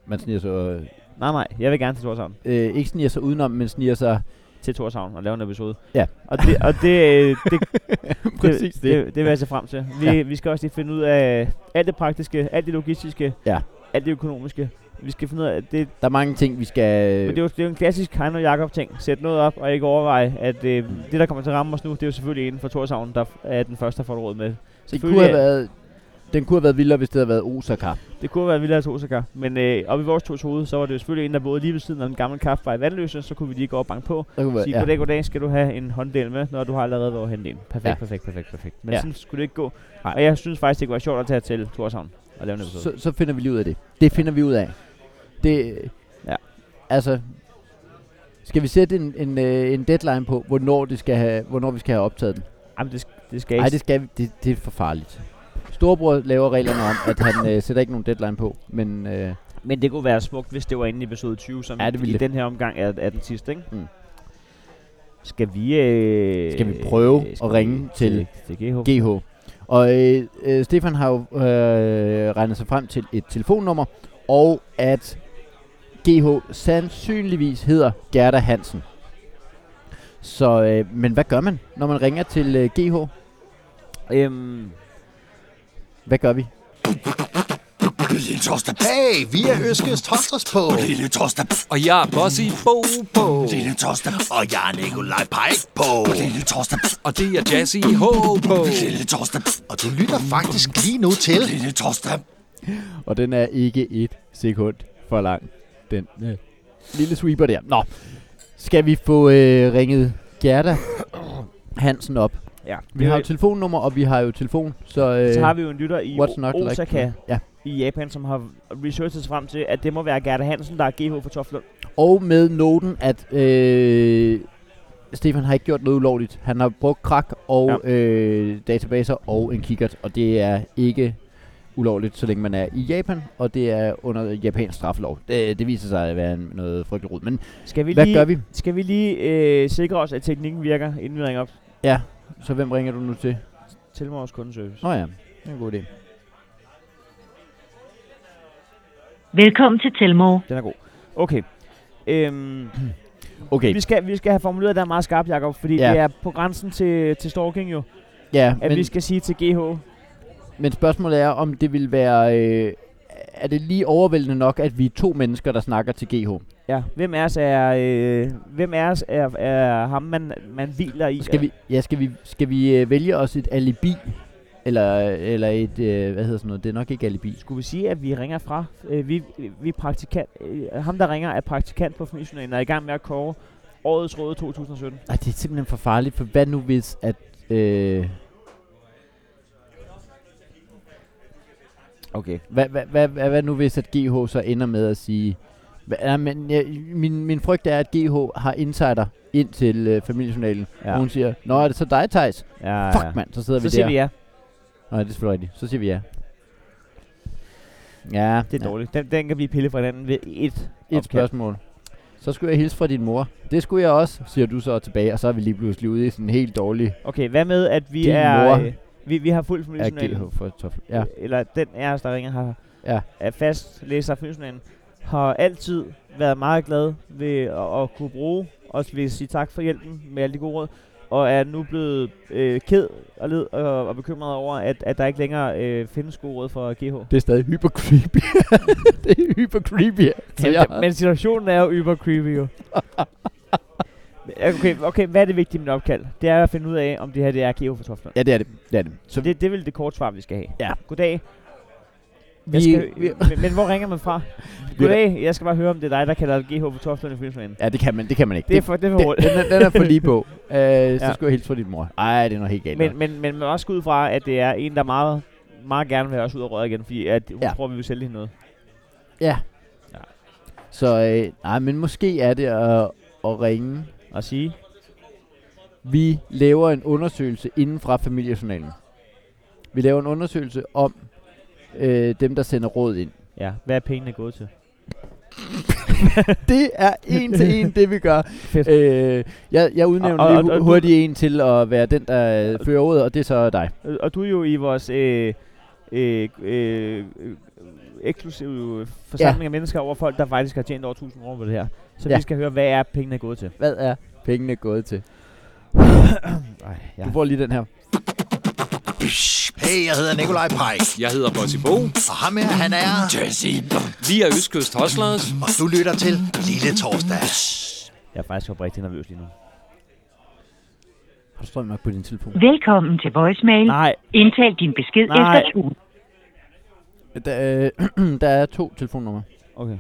Speaker 3: Man sniger sig, øh,
Speaker 2: nej, nej, jeg vil gerne til Torshavn.
Speaker 3: øh, ikke sniger sig udenom, men sniger sig
Speaker 2: Til Torshavn og lave en episode.
Speaker 3: Ja.
Speaker 2: Og det, og det, øh, det,
Speaker 3: Præcis
Speaker 2: det,
Speaker 3: det.
Speaker 2: det, det vil jeg se frem til. Vi, ja. vi skal også lige finde ud af alt det praktiske, alt det logistiske,
Speaker 3: Ja. Øh.
Speaker 2: alt det økonomiske. Vi skal finde ud af, det,
Speaker 3: Der er mange ting, vi skal...
Speaker 2: Men det er jo, det er jo en klassisk Heino Jakob ting. Sæt noget op og ikke overveje, at øh, det, der kommer til at ramme os nu, det er jo selvfølgelig inden for Torshavn, der f- er den første, der får et råd med.
Speaker 3: det
Speaker 2: Selvfølgelig
Speaker 3: kunne have
Speaker 2: er-
Speaker 3: været... Den kunne have været vildere, hvis det havde været Osaka.
Speaker 2: Det kunne være Villas Osaka, men øh, oppe i vores tos hoved, så var det jo selvfølgelig en, der boede lige ved siden af den gamle kaffe i Vandløse, så kunne vi lige gå og banke på.
Speaker 3: Der kunne
Speaker 2: Ja.
Speaker 3: være,
Speaker 2: Sige, goddag, goddag, skal du have en hånddel med, når du har allerede været henne en. Perfekt, ja.
Speaker 3: Ja.
Speaker 2: perfekt, perfekt, perfekt. Men ja.
Speaker 3: Ja.
Speaker 2: sådan skulle det ikke gå. Nej. Og jeg synes faktisk, det kunne være sjovt at tage til Torshavn og lave en episode.
Speaker 3: så, så finder vi lige ud af det. Det finder vi ud af. Det...
Speaker 2: Ja.
Speaker 3: Altså... Skal vi sætte en, en, øh, en deadline på, hvornår, det skal have, hvornår vi skal have optaget den?
Speaker 2: Jamen, det, sk- det skal
Speaker 3: Nej,
Speaker 2: ikke.
Speaker 3: det, skal vi, det, det er for farligt. Storebror laver reglerne om, at han øh, sætter ikke nogen deadline på, men øh,
Speaker 2: Men det kunne være smukt, hvis det var inde i episode 20, som
Speaker 3: Ja, det ville
Speaker 2: i
Speaker 3: det.
Speaker 2: den her omgang er, er den sidste, ikke?
Speaker 3: Mm.
Speaker 2: Skal vi... Øh,
Speaker 3: Skal vi prøve at ringe
Speaker 2: vi-
Speaker 3: til
Speaker 2: til GH?
Speaker 3: GH. Og øh, øh, Stefan har jo øh, regnet sig frem til et telefonnummer, og at GH sandsynligvis hedder Gerda Hansen. Så, øh, men hvad gør man, når man ringer til øh, GH?
Speaker 2: Øhm,
Speaker 3: Hvad gør vi?
Speaker 6: Lille torsdag.
Speaker 4: Hey, vi er Øskes Tosters på.
Speaker 6: Lille torsdag.
Speaker 5: Og jeg er Bossy Bo Bo.
Speaker 6: Lille torsdag.
Speaker 4: Og jeg er Nikolaj Pajk på.
Speaker 6: Lille torsdag.
Speaker 5: Og det er Jazzy H på.
Speaker 6: Lille torsdag.
Speaker 4: Og du lytter faktisk lige nu til
Speaker 6: Lille torsdag.
Speaker 3: Og den er ikke et sekund for lang. Den øh, lille sweeper der. Nå, skal vi få øh, ringet Gerda Hansen op?
Speaker 2: ja.
Speaker 3: Vi har jo telefonnummer, og vi har jo telefon, Øh. så... Øh,
Speaker 2: så har vi jo en lytter i
Speaker 3: what's
Speaker 2: o-
Speaker 3: not like-
Speaker 2: Osaka
Speaker 3: Ja.
Speaker 2: i Japan, som har researchet sig frem til, at det må være Gerda Hansen, der er GH for Toflund.
Speaker 3: Og med noten, at øh, Stefan har ikke gjort noget ulovligt. Han har brugt krak og ja. øh, databaser og en kikkert, og det er ikke ulovligt, så længe man er i Japan, og det er under japansk straffelov. Det, det viser sig at være en, noget frygteligt rod. Men
Speaker 2: Skal vi
Speaker 3: hvad
Speaker 2: lige,
Speaker 3: gør vi?
Speaker 2: Skal vi lige øh, sikre os, at teknikken virker, inden vi ringer op
Speaker 3: Ja, så hvem ringer du nu til?
Speaker 2: til vores kundeservice?
Speaker 3: Nå ja, det er en god idé.
Speaker 7: Velkommen til Telmore.
Speaker 2: Den er god. Okay. Øhm,
Speaker 3: Okay,
Speaker 2: vi, skal, vi skal have formuleret det her meget skarpt, Jacob, fordi
Speaker 3: Ja.
Speaker 2: ja. det er på grænsen til, til stalking jo,
Speaker 3: ja,
Speaker 2: at
Speaker 3: men,
Speaker 2: vi skal sige til GH,
Speaker 3: men spørgsmålet er, om det vil være... Øh, er det lige overvældende nok, at vi er to mennesker, der snakker til GH?
Speaker 2: Ja, hvem af os er, øh, hvem af os er, er ham, man, man hviler i?
Speaker 3: Skal vi, ja, skal vi, skal vi øh, vælge os et alibi? Eller, eller et, øh, hvad hedder sådan noget? Det er nok ikke alibi.
Speaker 2: Skulle vi sige, at vi ringer fra? Øh, vi, vi er praktikant, øh, ham, der ringer, er praktikant på Familiejournalen og er i gang med at kåre årets råd 2017.
Speaker 3: Nej, det er simpelthen for farligt, for hvad nu hvis, at... Øh,
Speaker 2: Okay.
Speaker 3: hvad, hvad, hvad, hvad, hvad nu hvis, at GH så ender med at sige... Hva, ja, men, ja, min, min frygt er, at GH har insider ind til øh, familiejournalen, ja.
Speaker 2: Ja.
Speaker 3: og hun siger, Nå, er det så dig, Thijs?
Speaker 2: Ja,
Speaker 3: Ja. Fuck, mand, så sidder
Speaker 2: Så
Speaker 3: vi der.
Speaker 2: siger vi ja.
Speaker 3: Nej, det er selvfølgelig rigtigt. Så siger vi ja. Ja,
Speaker 2: Det er
Speaker 3: ja.
Speaker 2: dårligt. Den, den kan blive pillet fra hinanden ved et
Speaker 3: Et
Speaker 2: opkald.
Speaker 3: spørgsmål. Så skulle jeg hilse fra din mor. Det skulle jeg også, siger du så tilbage, og så er vi lige pludselig ude i sådan en helt dårlig
Speaker 2: Okay, hvad med, at vi
Speaker 3: Din
Speaker 2: er...
Speaker 3: mor
Speaker 2: Øh, vi, vi har fuld Familiejournalen.
Speaker 3: AGH for toffel. Ja.
Speaker 2: Øh, Eller den af os, der ringer, har
Speaker 3: Ja.
Speaker 2: er fast læser af Fynsjournalen, har altid været meget glad ved at, at kunne bruge, og vil sige tak for hjælpen med alle de gode råd, og er nu blevet øh, ked og led og, og bekymret over, at, at der ikke længere øh, findes gode råd for GH.
Speaker 3: Det er stadig hyper creepy. det er hyper creepy. Så jeg,
Speaker 2: Men situationen er jo yber creepy jo. Okay, okay, hvad er det vigtige med opkald? Det er at finde ud af, om det her det er GH for Toftlund.
Speaker 3: ja, det er det. det, er det. Så
Speaker 2: Så det, det er vel det korte svar, vi skal have.
Speaker 3: Ja.
Speaker 2: Goddag.
Speaker 3: Vi-
Speaker 2: Vi, skal,
Speaker 3: vi-
Speaker 2: men, men hvor ringer man fra? Goddag, jeg skal bare høre, om det er dig, der kalder dig GH på Toftlund i Filmsmanen.
Speaker 3: ja, det kan man, det kan man ikke.
Speaker 2: Det er for, det er for
Speaker 3: det,
Speaker 2: hurtigt.
Speaker 3: den, er, den er for lige på. Øh, så
Speaker 2: Ja.
Speaker 3: skulle jeg hilse fra din mor. Ej, det er noget helt galt.
Speaker 2: Men, men, men man må også gå ud fra, at det er en, der meget, meget gerne vil have os ud og røre igen, fordi at hun
Speaker 3: Ja.
Speaker 2: ja. tror, vi vil sælge hende noget.
Speaker 3: Så øh, nej, men måske er det at, at ringe.
Speaker 2: Og sige,
Speaker 3: Vi laver en undersøgelse inden fra familiejournalen. Vi laver en undersøgelse om øh, dem, der sender råd ind.
Speaker 2: ja, hvad er pengene gået til?
Speaker 3: Det er en til en, det vi gør.
Speaker 2: Fedt.
Speaker 3: Øh, jeg, jeg udnævner
Speaker 2: Og- og-
Speaker 3: lige hu-
Speaker 2: og du-
Speaker 3: hurtigt en til at være den, der øh, fører ordet, og det er så dig.
Speaker 2: Og- Og du er jo i vores øh, øh, øh, øh, eksklusive forsamling ja. af mennesker over folk, der faktisk har tjent over 1000 kroner på det her. Så
Speaker 3: Ja.
Speaker 2: ja. vi skal høre, hvad er pengene gået til?
Speaker 3: Hvad er pengene gået til?
Speaker 2: Ej, ja.
Speaker 3: Du får lige den her.
Speaker 4: Hey, jeg hedder Nikolaj Pajk.
Speaker 5: Jeg hedder Bossy Bo.
Speaker 4: Og ham her, han er...
Speaker 6: Jazzy.
Speaker 5: Vi er Østkyst Hoslers.
Speaker 4: Og du lytter til Lille Torsdag.
Speaker 2: Jeg er faktisk oprigtig nervøs lige nu.
Speaker 3: Har du strøm nok på din telefon?
Speaker 7: Velkommen til voicemail.
Speaker 2: Nej,
Speaker 7: Indtal din besked
Speaker 2: Nej.
Speaker 7: efter tun.
Speaker 3: Der, øh, der er to telefonnumre.
Speaker 2: okay.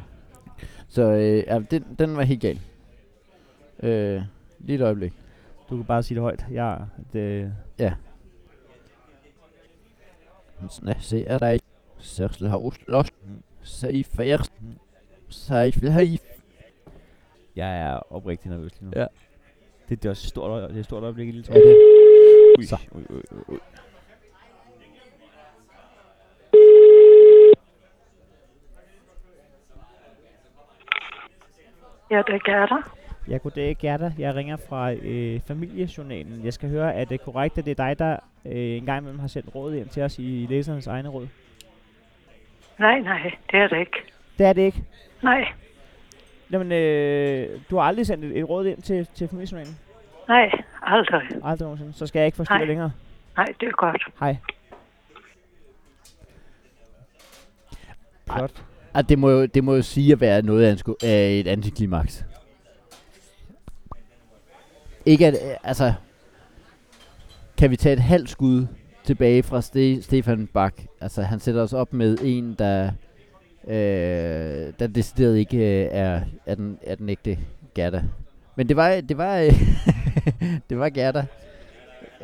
Speaker 3: Så øh, ja, den, den var helt gal. Øh, lige et øjeblik.
Speaker 2: Du kan bare sige det højt. Ja, det,
Speaker 3: Sådan, se er der ikke. Særsel har ost. Lost. Se i færst. Se i færst.
Speaker 2: Jeg er oprigtig nervøs lige nu.
Speaker 3: Ja.
Speaker 2: Det, det er også et stort, øje- det er et stort øjeblik i lille
Speaker 3: Er
Speaker 2: tårn.
Speaker 3: det?
Speaker 2: Så.
Speaker 8: Ja, det gør der.
Speaker 2: Ja, goddag Gerda. Jeg ringer fra øh, familiejournalen. Jeg skal høre, er det korrekt, at det er dig, der øh, en gang imellem har sendt råd hjem til os i læsernes egne råd?
Speaker 8: Nej, nej, det er det ikke.
Speaker 2: Det er det ikke.
Speaker 8: Nej,
Speaker 2: Jamen, øh, du har aldrig sendt et, et råd hjem til, til familiejournalen?
Speaker 8: nej, aldrig.
Speaker 2: Aldrig nogensinde. Så skal jeg ikke forstyrre
Speaker 8: Nej.
Speaker 2: længere.
Speaker 8: Nej, det er godt.
Speaker 2: Hej.
Speaker 3: Ej.
Speaker 2: Flot.
Speaker 3: Ah, det, må jo, det må jo sige at være noget af, en sku- af et antiklimaks. Ikke at, øh, altså... Kan vi tage et halvt skud tilbage fra Ste- Stefan Bak? Altså, han sætter os op med en, der... Øh, der decideret ikke øh, er, er, den, er den ægte Gerda. Men det var, det var, øh, det var Gerda.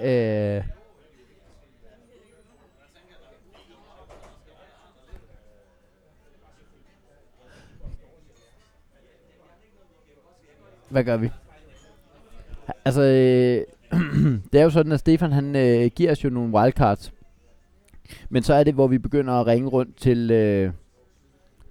Speaker 3: Øh, Hvad gør vi? Altså, øh, det er jo sådan, at Stefan han øh, giver os jo nogle wildcards. Men så er det, hvor vi begynder at ringe rundt til, øh,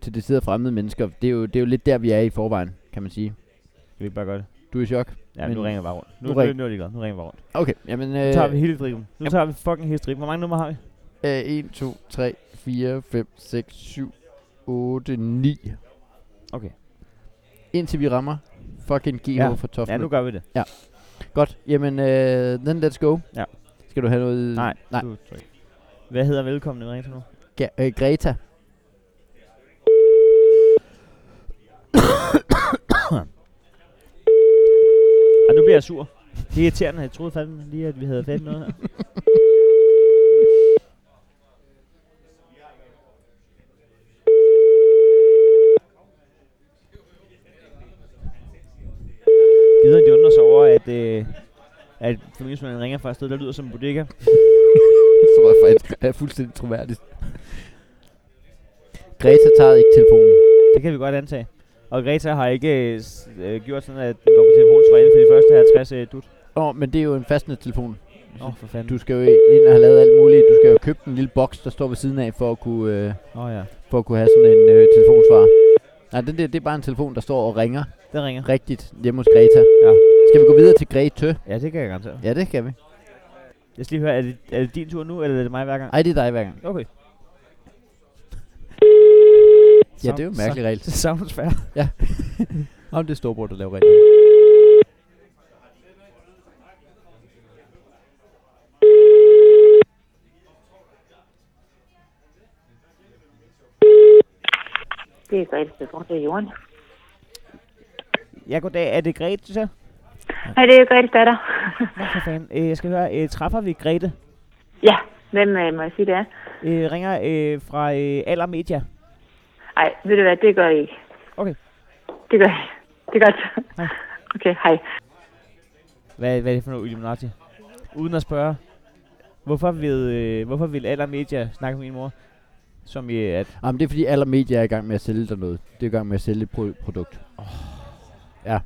Speaker 3: til det sidder fremmede mennesker. Det er, jo, det er jo lidt der, vi er i forvejen, kan man sige.
Speaker 2: Kan vi ikke bare gøre det?
Speaker 3: Du er i chok.
Speaker 2: Ja,
Speaker 3: Men-
Speaker 2: men nu ringer jeg bare rundt. Nu,
Speaker 3: Nu
Speaker 2: nu,
Speaker 3: ring-
Speaker 2: nu, nu er det godt. Nu ringer jeg bare rundt. Øh,
Speaker 3: Okay, jamen...
Speaker 2: Nu tager vi hele striben. Nu tager vi fucking hele striben. Hvor mange numre har vi?
Speaker 3: Øh, 1, 2, 3, 4, 5, 6, 7, 8, 9.
Speaker 2: Okay.
Speaker 3: Indtil vi rammer fucking GH
Speaker 2: Ja.
Speaker 3: ja. for Toffen.
Speaker 2: Ja, nu gør vi det.
Speaker 3: Godt, jamen, øh, then let's go.
Speaker 2: Ja.
Speaker 3: Skal du have noget...
Speaker 2: Nej.
Speaker 3: Nej.
Speaker 2: Du, tryk. Hvad hedder velkommen i ringen til nu?
Speaker 3: Ge- øh, Greta.
Speaker 2: Ej, nu bliver jeg sur. Det er irriterende. Jeg troede fandme lige, at vi havde fat i noget her. Gider de undrer sig over, at, øh, at familiesmanden ringer fra et sted, der lyder som en bodega.
Speaker 3: Det tror jeg faktisk er fuldstændig troværdigt. Greta tager ikke telefonen.
Speaker 2: Det kan vi godt antage. Og Greta har ikke øh, s- øh, gjort sådan, at den går på telefonsvar inden for de første 50 øh, dut.
Speaker 3: Åh, oh, men det er jo en fastnettelefon.
Speaker 2: Åh, oh, for fanden.
Speaker 3: Du skal jo ind og have lavet alt muligt. Du skal jo købe den lille boks, der står ved siden af, for at kunne, øh,
Speaker 2: Åh oh, ja.
Speaker 3: for at kunne have sådan en øh, telefonsvar. Nej, den der, det er bare en telefon, der står og ringer
Speaker 2: Den ringer.
Speaker 3: rigtigt hjemme hos Greta.
Speaker 2: Ja.
Speaker 3: Skal vi gå videre til Grete?
Speaker 2: Ja, det kan jeg garantere.
Speaker 3: Ja, det skal vi.
Speaker 2: Jeg skal lige høre, er det, er det din tur nu, eller er det mig hver gang?
Speaker 3: Ej, det er dig hver gang.
Speaker 2: Okay.
Speaker 3: Ja, det er jo en mærkelig regel.
Speaker 2: Det savnes færre.
Speaker 3: Om det er storbror, der laver regler.
Speaker 8: Det er Grete Stefan, det er Jorden.
Speaker 2: Ja, goddag. Er det Grete, så?
Speaker 8: Nej, det er Grete datter.
Speaker 2: Nå, for fanden. Øh, jeg skal høre, øh, træffer vi Grete?
Speaker 8: ja, hvem øh, må jeg sige det er?
Speaker 2: Øh, ringer øh, fra øh, Aller Media.
Speaker 8: Ej, ved du hvad, det gør I ikke.
Speaker 2: Okay.
Speaker 8: Det gør I. Det er godt.
Speaker 2: Hej.
Speaker 8: Okay, hej.
Speaker 2: Hvad, hvad er det for noget Illuminati? Uden at spørge. Hvorfor vil, øh, hvorfor vil Aller Media snakke med min mor? Som i øh, at...
Speaker 3: Jamen, det er fordi alle medier er i gang med at sælge dig noget. Det er i gang med at sælge et pro- produkt. Oh. Ja.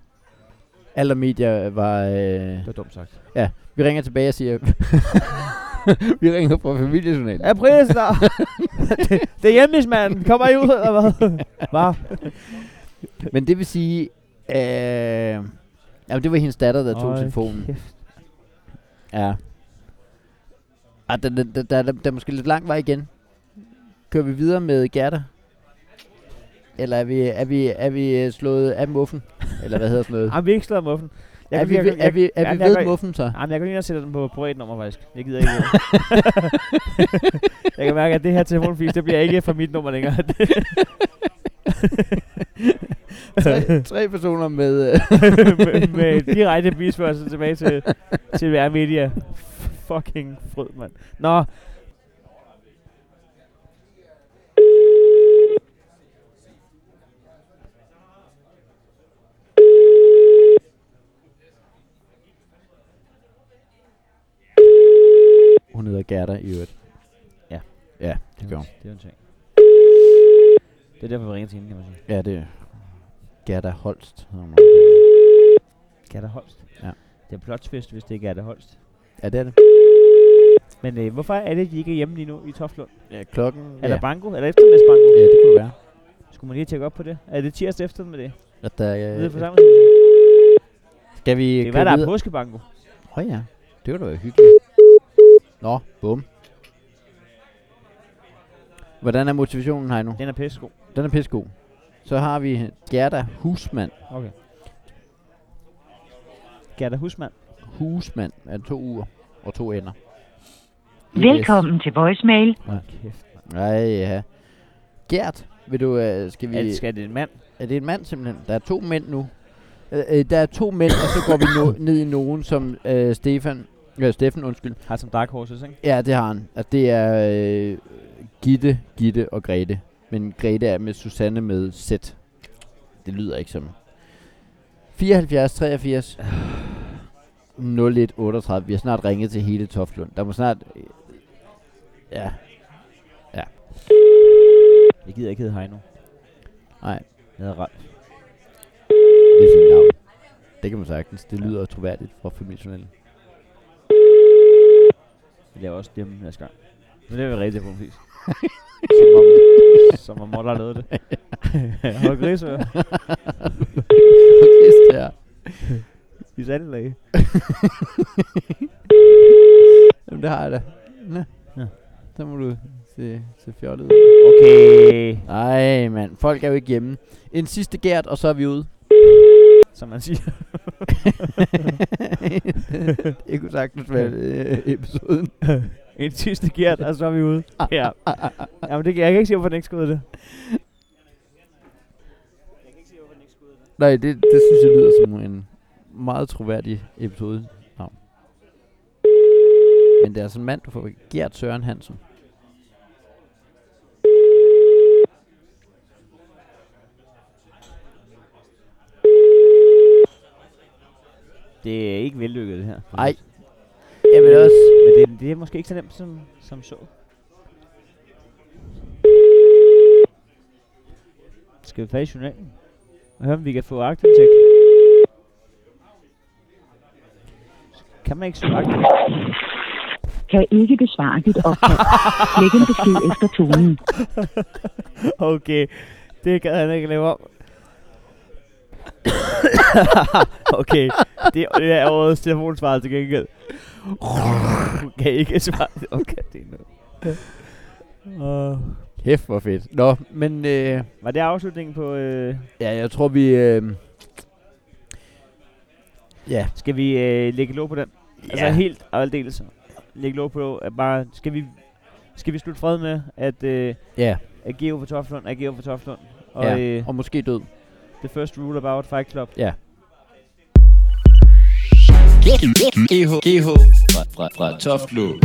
Speaker 3: Alle medier var... Øh,
Speaker 2: Det var dumt sagt.
Speaker 3: Vi ringer tilbage og siger... vi ringer fra familiejournalen.
Speaker 2: Er prisen der? det, det er hjemmesmanden. Kommer I ud, eller hvad? Hvad?
Speaker 3: Men det vil sige... Øh, jamen, det var hendes datter, der tog
Speaker 2: Øj,
Speaker 3: telefonen.
Speaker 2: kæft.
Speaker 3: Ja. Ah, der, der, der, der, der, der er måske lidt lang vej igen. Kører vi videre med Gerda? Eller er vi, er vi, er vi øh, slået af muffen? Eller hvad hedder sådan noget?
Speaker 2: Ej, Ah, vi er ikke slået om muffen. Jeg
Speaker 3: er
Speaker 2: kan-
Speaker 3: vi,
Speaker 2: jeg-
Speaker 3: ved- er
Speaker 2: jeg-
Speaker 3: vi, er
Speaker 2: jeg-
Speaker 3: vi
Speaker 2: jeg
Speaker 3: ved
Speaker 2: kan-
Speaker 3: muffen så?
Speaker 2: Jamen, jeg går lige ind og sætter den på privatnummer, faktisk. Jeg gider ikke. jeg kan mærke, at det her telefonfis, det bliver ikke fra mit nummer længere.
Speaker 3: tre, tre personer med... Øh,
Speaker 2: med, med direkte bisførsel tilbage til, til VR Media. Fucking frød, mand. Nå,
Speaker 3: hun hedder Gerda i øvrigt.
Speaker 2: Ja.
Speaker 3: Ja, det gør hun.
Speaker 2: det er jo en ting. Det er derfor, vi ringer til hende, kan man sige.
Speaker 3: Ja, det Gerda Holst. hedder hun.
Speaker 2: Gerda Holst.
Speaker 3: Ja.
Speaker 2: Det er plotsfest, hvis det er Gerda Holst.
Speaker 3: Ja, det er det.
Speaker 2: Men øh, hvorfor er det, de ikke er hjemme lige nu i Toftlund?
Speaker 3: Ja, klokken...
Speaker 2: Er
Speaker 3: ja.
Speaker 2: der banko? Er der eftermiddagsbanko?
Speaker 3: Ja, det kunne være.
Speaker 2: Skulle man lige tjekke op på det? Er det tirsdag eftermiddag?
Speaker 3: At der,
Speaker 2: Nede i
Speaker 3: øh,
Speaker 2: forsamlingshuset?
Speaker 3: skal vi
Speaker 2: Det er hvad, der er påskebanko.
Speaker 3: Åh oh, ja, det var da hyggeligt. Nå, bum. Hvordan er motivationen her nu?
Speaker 2: Den er pissegod.
Speaker 3: Den er pissegod. Så har vi Gerda Husmand.
Speaker 2: Okay. Gerda Husmand.
Speaker 3: Husmand er to uger og to ender.
Speaker 7: Velkommen til voicemail.
Speaker 2: Kæft.
Speaker 3: Nej, ja. Gert, vil du, øh, skal vi...
Speaker 2: Er det, skal det en mand?
Speaker 3: Er det en mand simpelthen? Der er to mænd nu. Øh, øh, der er to mænd, og så går vi no- ned i nogen, som øh, Stefan... Øh, Steffen, undskyld.
Speaker 2: Har som Dark Horses, ikke?
Speaker 3: Ja, det har han. Altså, det er øh, Gitte, Gitte og Grete. Men Grete er med Susanne med Z. Det lyder ikke som... 74, 83, 01, 38. Vi har snart ringet til hele Toftlund. Der må snart... øh, Ja,
Speaker 2: Jeg gider ikke hedde Heino.
Speaker 3: nej.
Speaker 2: Jeg hedder Ralf.
Speaker 3: Det er fint navn. Det kan man sagtens. Det lyder troværdigt for familiejournalen.
Speaker 2: Vi laver også dem næste gang. Men det er vi rigtig på en fisk. Som om Moller har lavet det. Har du grisører?
Speaker 3: Kæst her.
Speaker 2: I sandlæge.
Speaker 3: Jamen, det har jeg da. Nå.
Speaker 2: Ja.
Speaker 3: Så må du se, se fjollet. ud.
Speaker 2: Okay.
Speaker 3: Nej, mand. Folk er jo ikke hjemme. En sidste gært, og så er vi ude.
Speaker 2: Som man siger.
Speaker 3: det kunne sagtens være øh, episoden.
Speaker 2: En sidste gært, og så er vi ude. Ja. Jamen, det, jeg kan ikke se, hvorfor den ikke skal ud af det.
Speaker 3: Nej, det, det synes jeg lyder som en meget troværdig episode. No. Men det er altså en mand, du får Gert Søren Hansen.
Speaker 2: Det er ikke vellykket, det her.
Speaker 3: Nej. Jeg vil også...
Speaker 2: Men det, det er måske ikke så nemt som, som så. Skal vi fat i journalen? Og høre, om vi kan få aktindsigt? Kan man ikke søge aktindsigt?
Speaker 7: Kan ikke besvare dit opkald. Læg en besked efter tonen.
Speaker 2: Okay, det gad han ikke lave om. okay, det det er årets telefonsvar til gengæld. kan ikke svare. Okay, det er noget. Uh,
Speaker 3: Kæft, hvor fedt. Nå, men... Øh,
Speaker 2: var det afslutningen på... Øh,
Speaker 3: ja, jeg tror, vi... Øh, ja,
Speaker 2: Skal vi øh, lægge låg på den? Ja. Altså
Speaker 3: Ja.
Speaker 2: helt og aldeles. Lægge låg på, at bare, skal vi, skal vi slutte fred med, at, øh,
Speaker 3: ja,
Speaker 2: at Geo for Toftlund er Geo for Toftlund. Og
Speaker 3: Ja.
Speaker 2: øh,
Speaker 3: og måske død.
Speaker 2: the first rule about Fight Club.
Speaker 5: GH, GH fra, fra, fra Toftlund.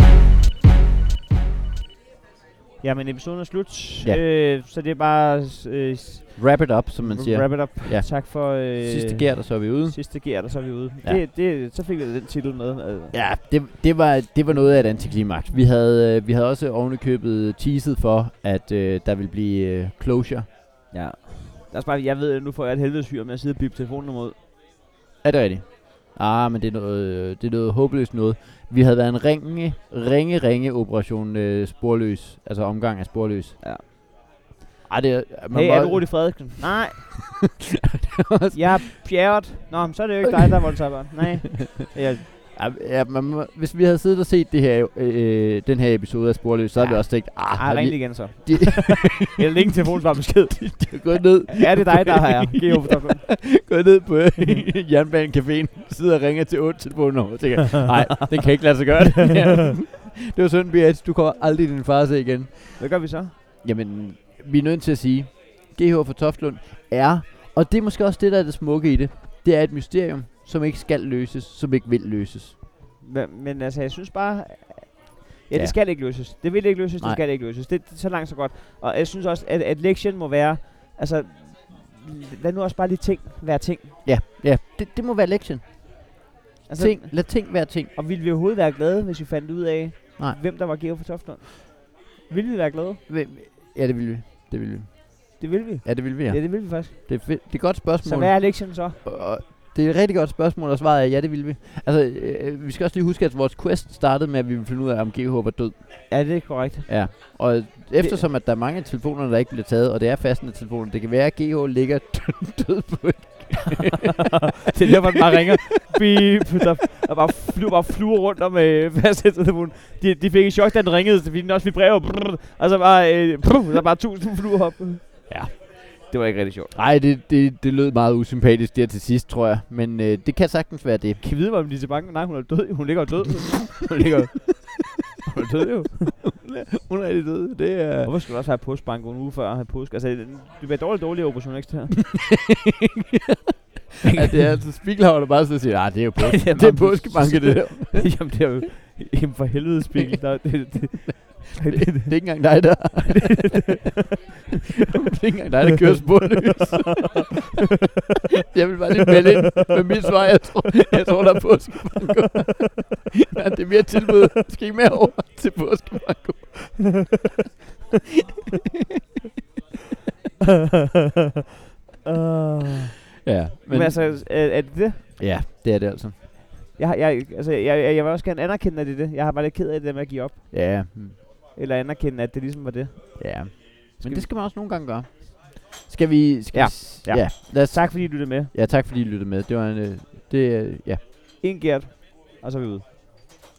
Speaker 2: Jamen, episoden er slut.
Speaker 3: Ja.
Speaker 2: Øh, så det er bare s- øh, s-
Speaker 3: Wrap it up, som man siger.
Speaker 2: wrap it up.
Speaker 3: Ja.
Speaker 2: Tak for... Øh,
Speaker 3: Sidste gært, og så er vi ude.
Speaker 2: Sidste gear, og så er vi ude.
Speaker 3: Ja.
Speaker 2: Ja. Det, det, så fik vi den titel med. Øh.
Speaker 3: Ja, det, det, var, det var noget af et antiklimaks. Vi havde, øh, vi havde også ovenikøbet teaset for, at øh, der ville blive øh, closure.
Speaker 2: ja. Der er bare, jeg ved, at nu får jeg et helvedes hyr med at sidde og bippe telefonen ud.
Speaker 3: Er det rigtigt? Ah, men det er noget, øh, det er noget håbløst noget. Vi havde været en ringe, ringe, ringe operation øh, sporløs. Altså omgang af sporløs.
Speaker 2: Ja.
Speaker 3: Ej, det er... Man
Speaker 2: Hey,
Speaker 3: må-
Speaker 2: er du Rudi Frederiksen? Nej. Jeg er pjerret. Nå, men så er det jo ikke dig, der er voldtaberen. Nej. Jeg,
Speaker 3: Ja, ja, man, må- hvis vi havde siddet og set det her, øh, den her episode af Sporløs, så havde
Speaker 2: Ja.
Speaker 3: vi også tænkt, ah,
Speaker 2: ah,
Speaker 3: har
Speaker 2: ring
Speaker 3: vi,
Speaker 2: lige igen så.
Speaker 3: de-
Speaker 2: Eller længe telefonen var besked.
Speaker 3: de er gået ned,
Speaker 2: er det dig, der er Geo
Speaker 3: gået ned på øh, jernbanecaféen, sidder og ringer til 8 telefonnummer, og tænker, nej, det kan ikke lade sig gøre. det her." det var synd, Beat, du kommer aldrig din far se igen.
Speaker 2: Hvad gør vi så?
Speaker 3: Jamen, vi er nødt til at sige, GH for Toftlund er, og det er måske også det, der er det smukke i det, det er et mysterium, som ikke skal løses, som ikke vil løses.
Speaker 2: Hva- Men altså, jeg synes bare... Ja,
Speaker 3: Ja.
Speaker 2: det skal ikke løses. Det vil ikke løses,
Speaker 3: Nej.
Speaker 2: det skal ikke løses. Det, det, så langt, så godt. Og jeg synes også, at, at lektien må være... Altså, lad nu også bare lige ting være ting.
Speaker 3: Ja, ja, det, det må være lektien.
Speaker 2: Altså,
Speaker 3: Ting, lad ting være ting.
Speaker 2: Og ville vi overhovedet være glade, hvis vi fandt ud af,
Speaker 3: Nej.
Speaker 2: hvem der var Geo for Toftlund? Ville vi være glade?
Speaker 3: Hvem- Ja, det vil vi. Det vil vi.
Speaker 2: Det vil vi.
Speaker 3: Ja, det vil vi, ja.
Speaker 2: Ja, det vil vi faktisk.
Speaker 3: Det er, fedt. det er et godt spørgsmål.
Speaker 2: Så hvad er lektien så?
Speaker 3: Og Det er et rigtig godt spørgsmål, og svaret er, ja, det vil vi. Altså, øh, vi skal også lige huske, at vores quest startede med, at vi ville finde ud af, om GH var død.
Speaker 2: Ja, det er korrekt.
Speaker 3: Ja. Og eftersom, at der er mange af telefonerne, der ikke bliver taget, og det er fastende telefoner, det kan være, at GH ligger død på et
Speaker 2: Det er derfor, den bare ringer. Beep, der, der bare, flyver, bare flyver rundt om øh, fastsættelefonen. De, de fik et chok, da den ringede, fordi den også vibrerer. Brrr, og så bare, øh, brrr, der er bare tusind fluer op. Ja, det var ikke rigtig sjovt.
Speaker 3: Nej, det, det, det lød meget usympatisk der til sidst, tror jeg. Men øh, det kan sagtens være det.
Speaker 2: Kan I vide, om Lise Banken? Nej, hun er død. Hun ligger jo død. hun ligger jo- Hun er død jo.
Speaker 3: Hun er død. Det er...
Speaker 2: Hvorfor skulle du også have postbank en uge før at have påske? Altså, det bliver dårligt dårlig operation ekstra her.
Speaker 3: ja, det er altså Spiegelhavn, der bare sidder og siger, nej, det er jo påske. det er påskebanke, det der.
Speaker 2: Jamen, det er jo... Jamen, for helvede, Spikkel. Der, det, det, det,
Speaker 3: Det, det er ikke engang dig, der... det er ikke engang dig, der kører sporløs. jeg vil bare lige melde ind med mit svar. Jeg tror, jeg tror der er påskemango. ja, det er mere tilbud. Skal I med over til påskemango?
Speaker 2: Ah.
Speaker 3: ja,
Speaker 2: men, men altså, er, er det det?
Speaker 3: ja, det er det altså.
Speaker 2: Jeg, har- jeg, altså, jeg, jeg, jeg vil også gerne anerkende, at det er det. Jeg har bare lidt ked af det der med at give op.
Speaker 3: Ja, mm,
Speaker 2: Eller anerkende, at det ligesom var det.
Speaker 3: ja.
Speaker 2: Skal
Speaker 3: Men
Speaker 2: vi-
Speaker 3: det skal man også nogle gange gøre. Skal vi... Skal
Speaker 2: Ja,
Speaker 3: vi s-
Speaker 2: ja.
Speaker 3: ja. Lad os
Speaker 2: Tak fordi I lyttede med.
Speaker 3: Ja, tak fordi I lyttede med. Det var en... Øh, det, øh, ja.
Speaker 2: En Gert, og så er vi ude.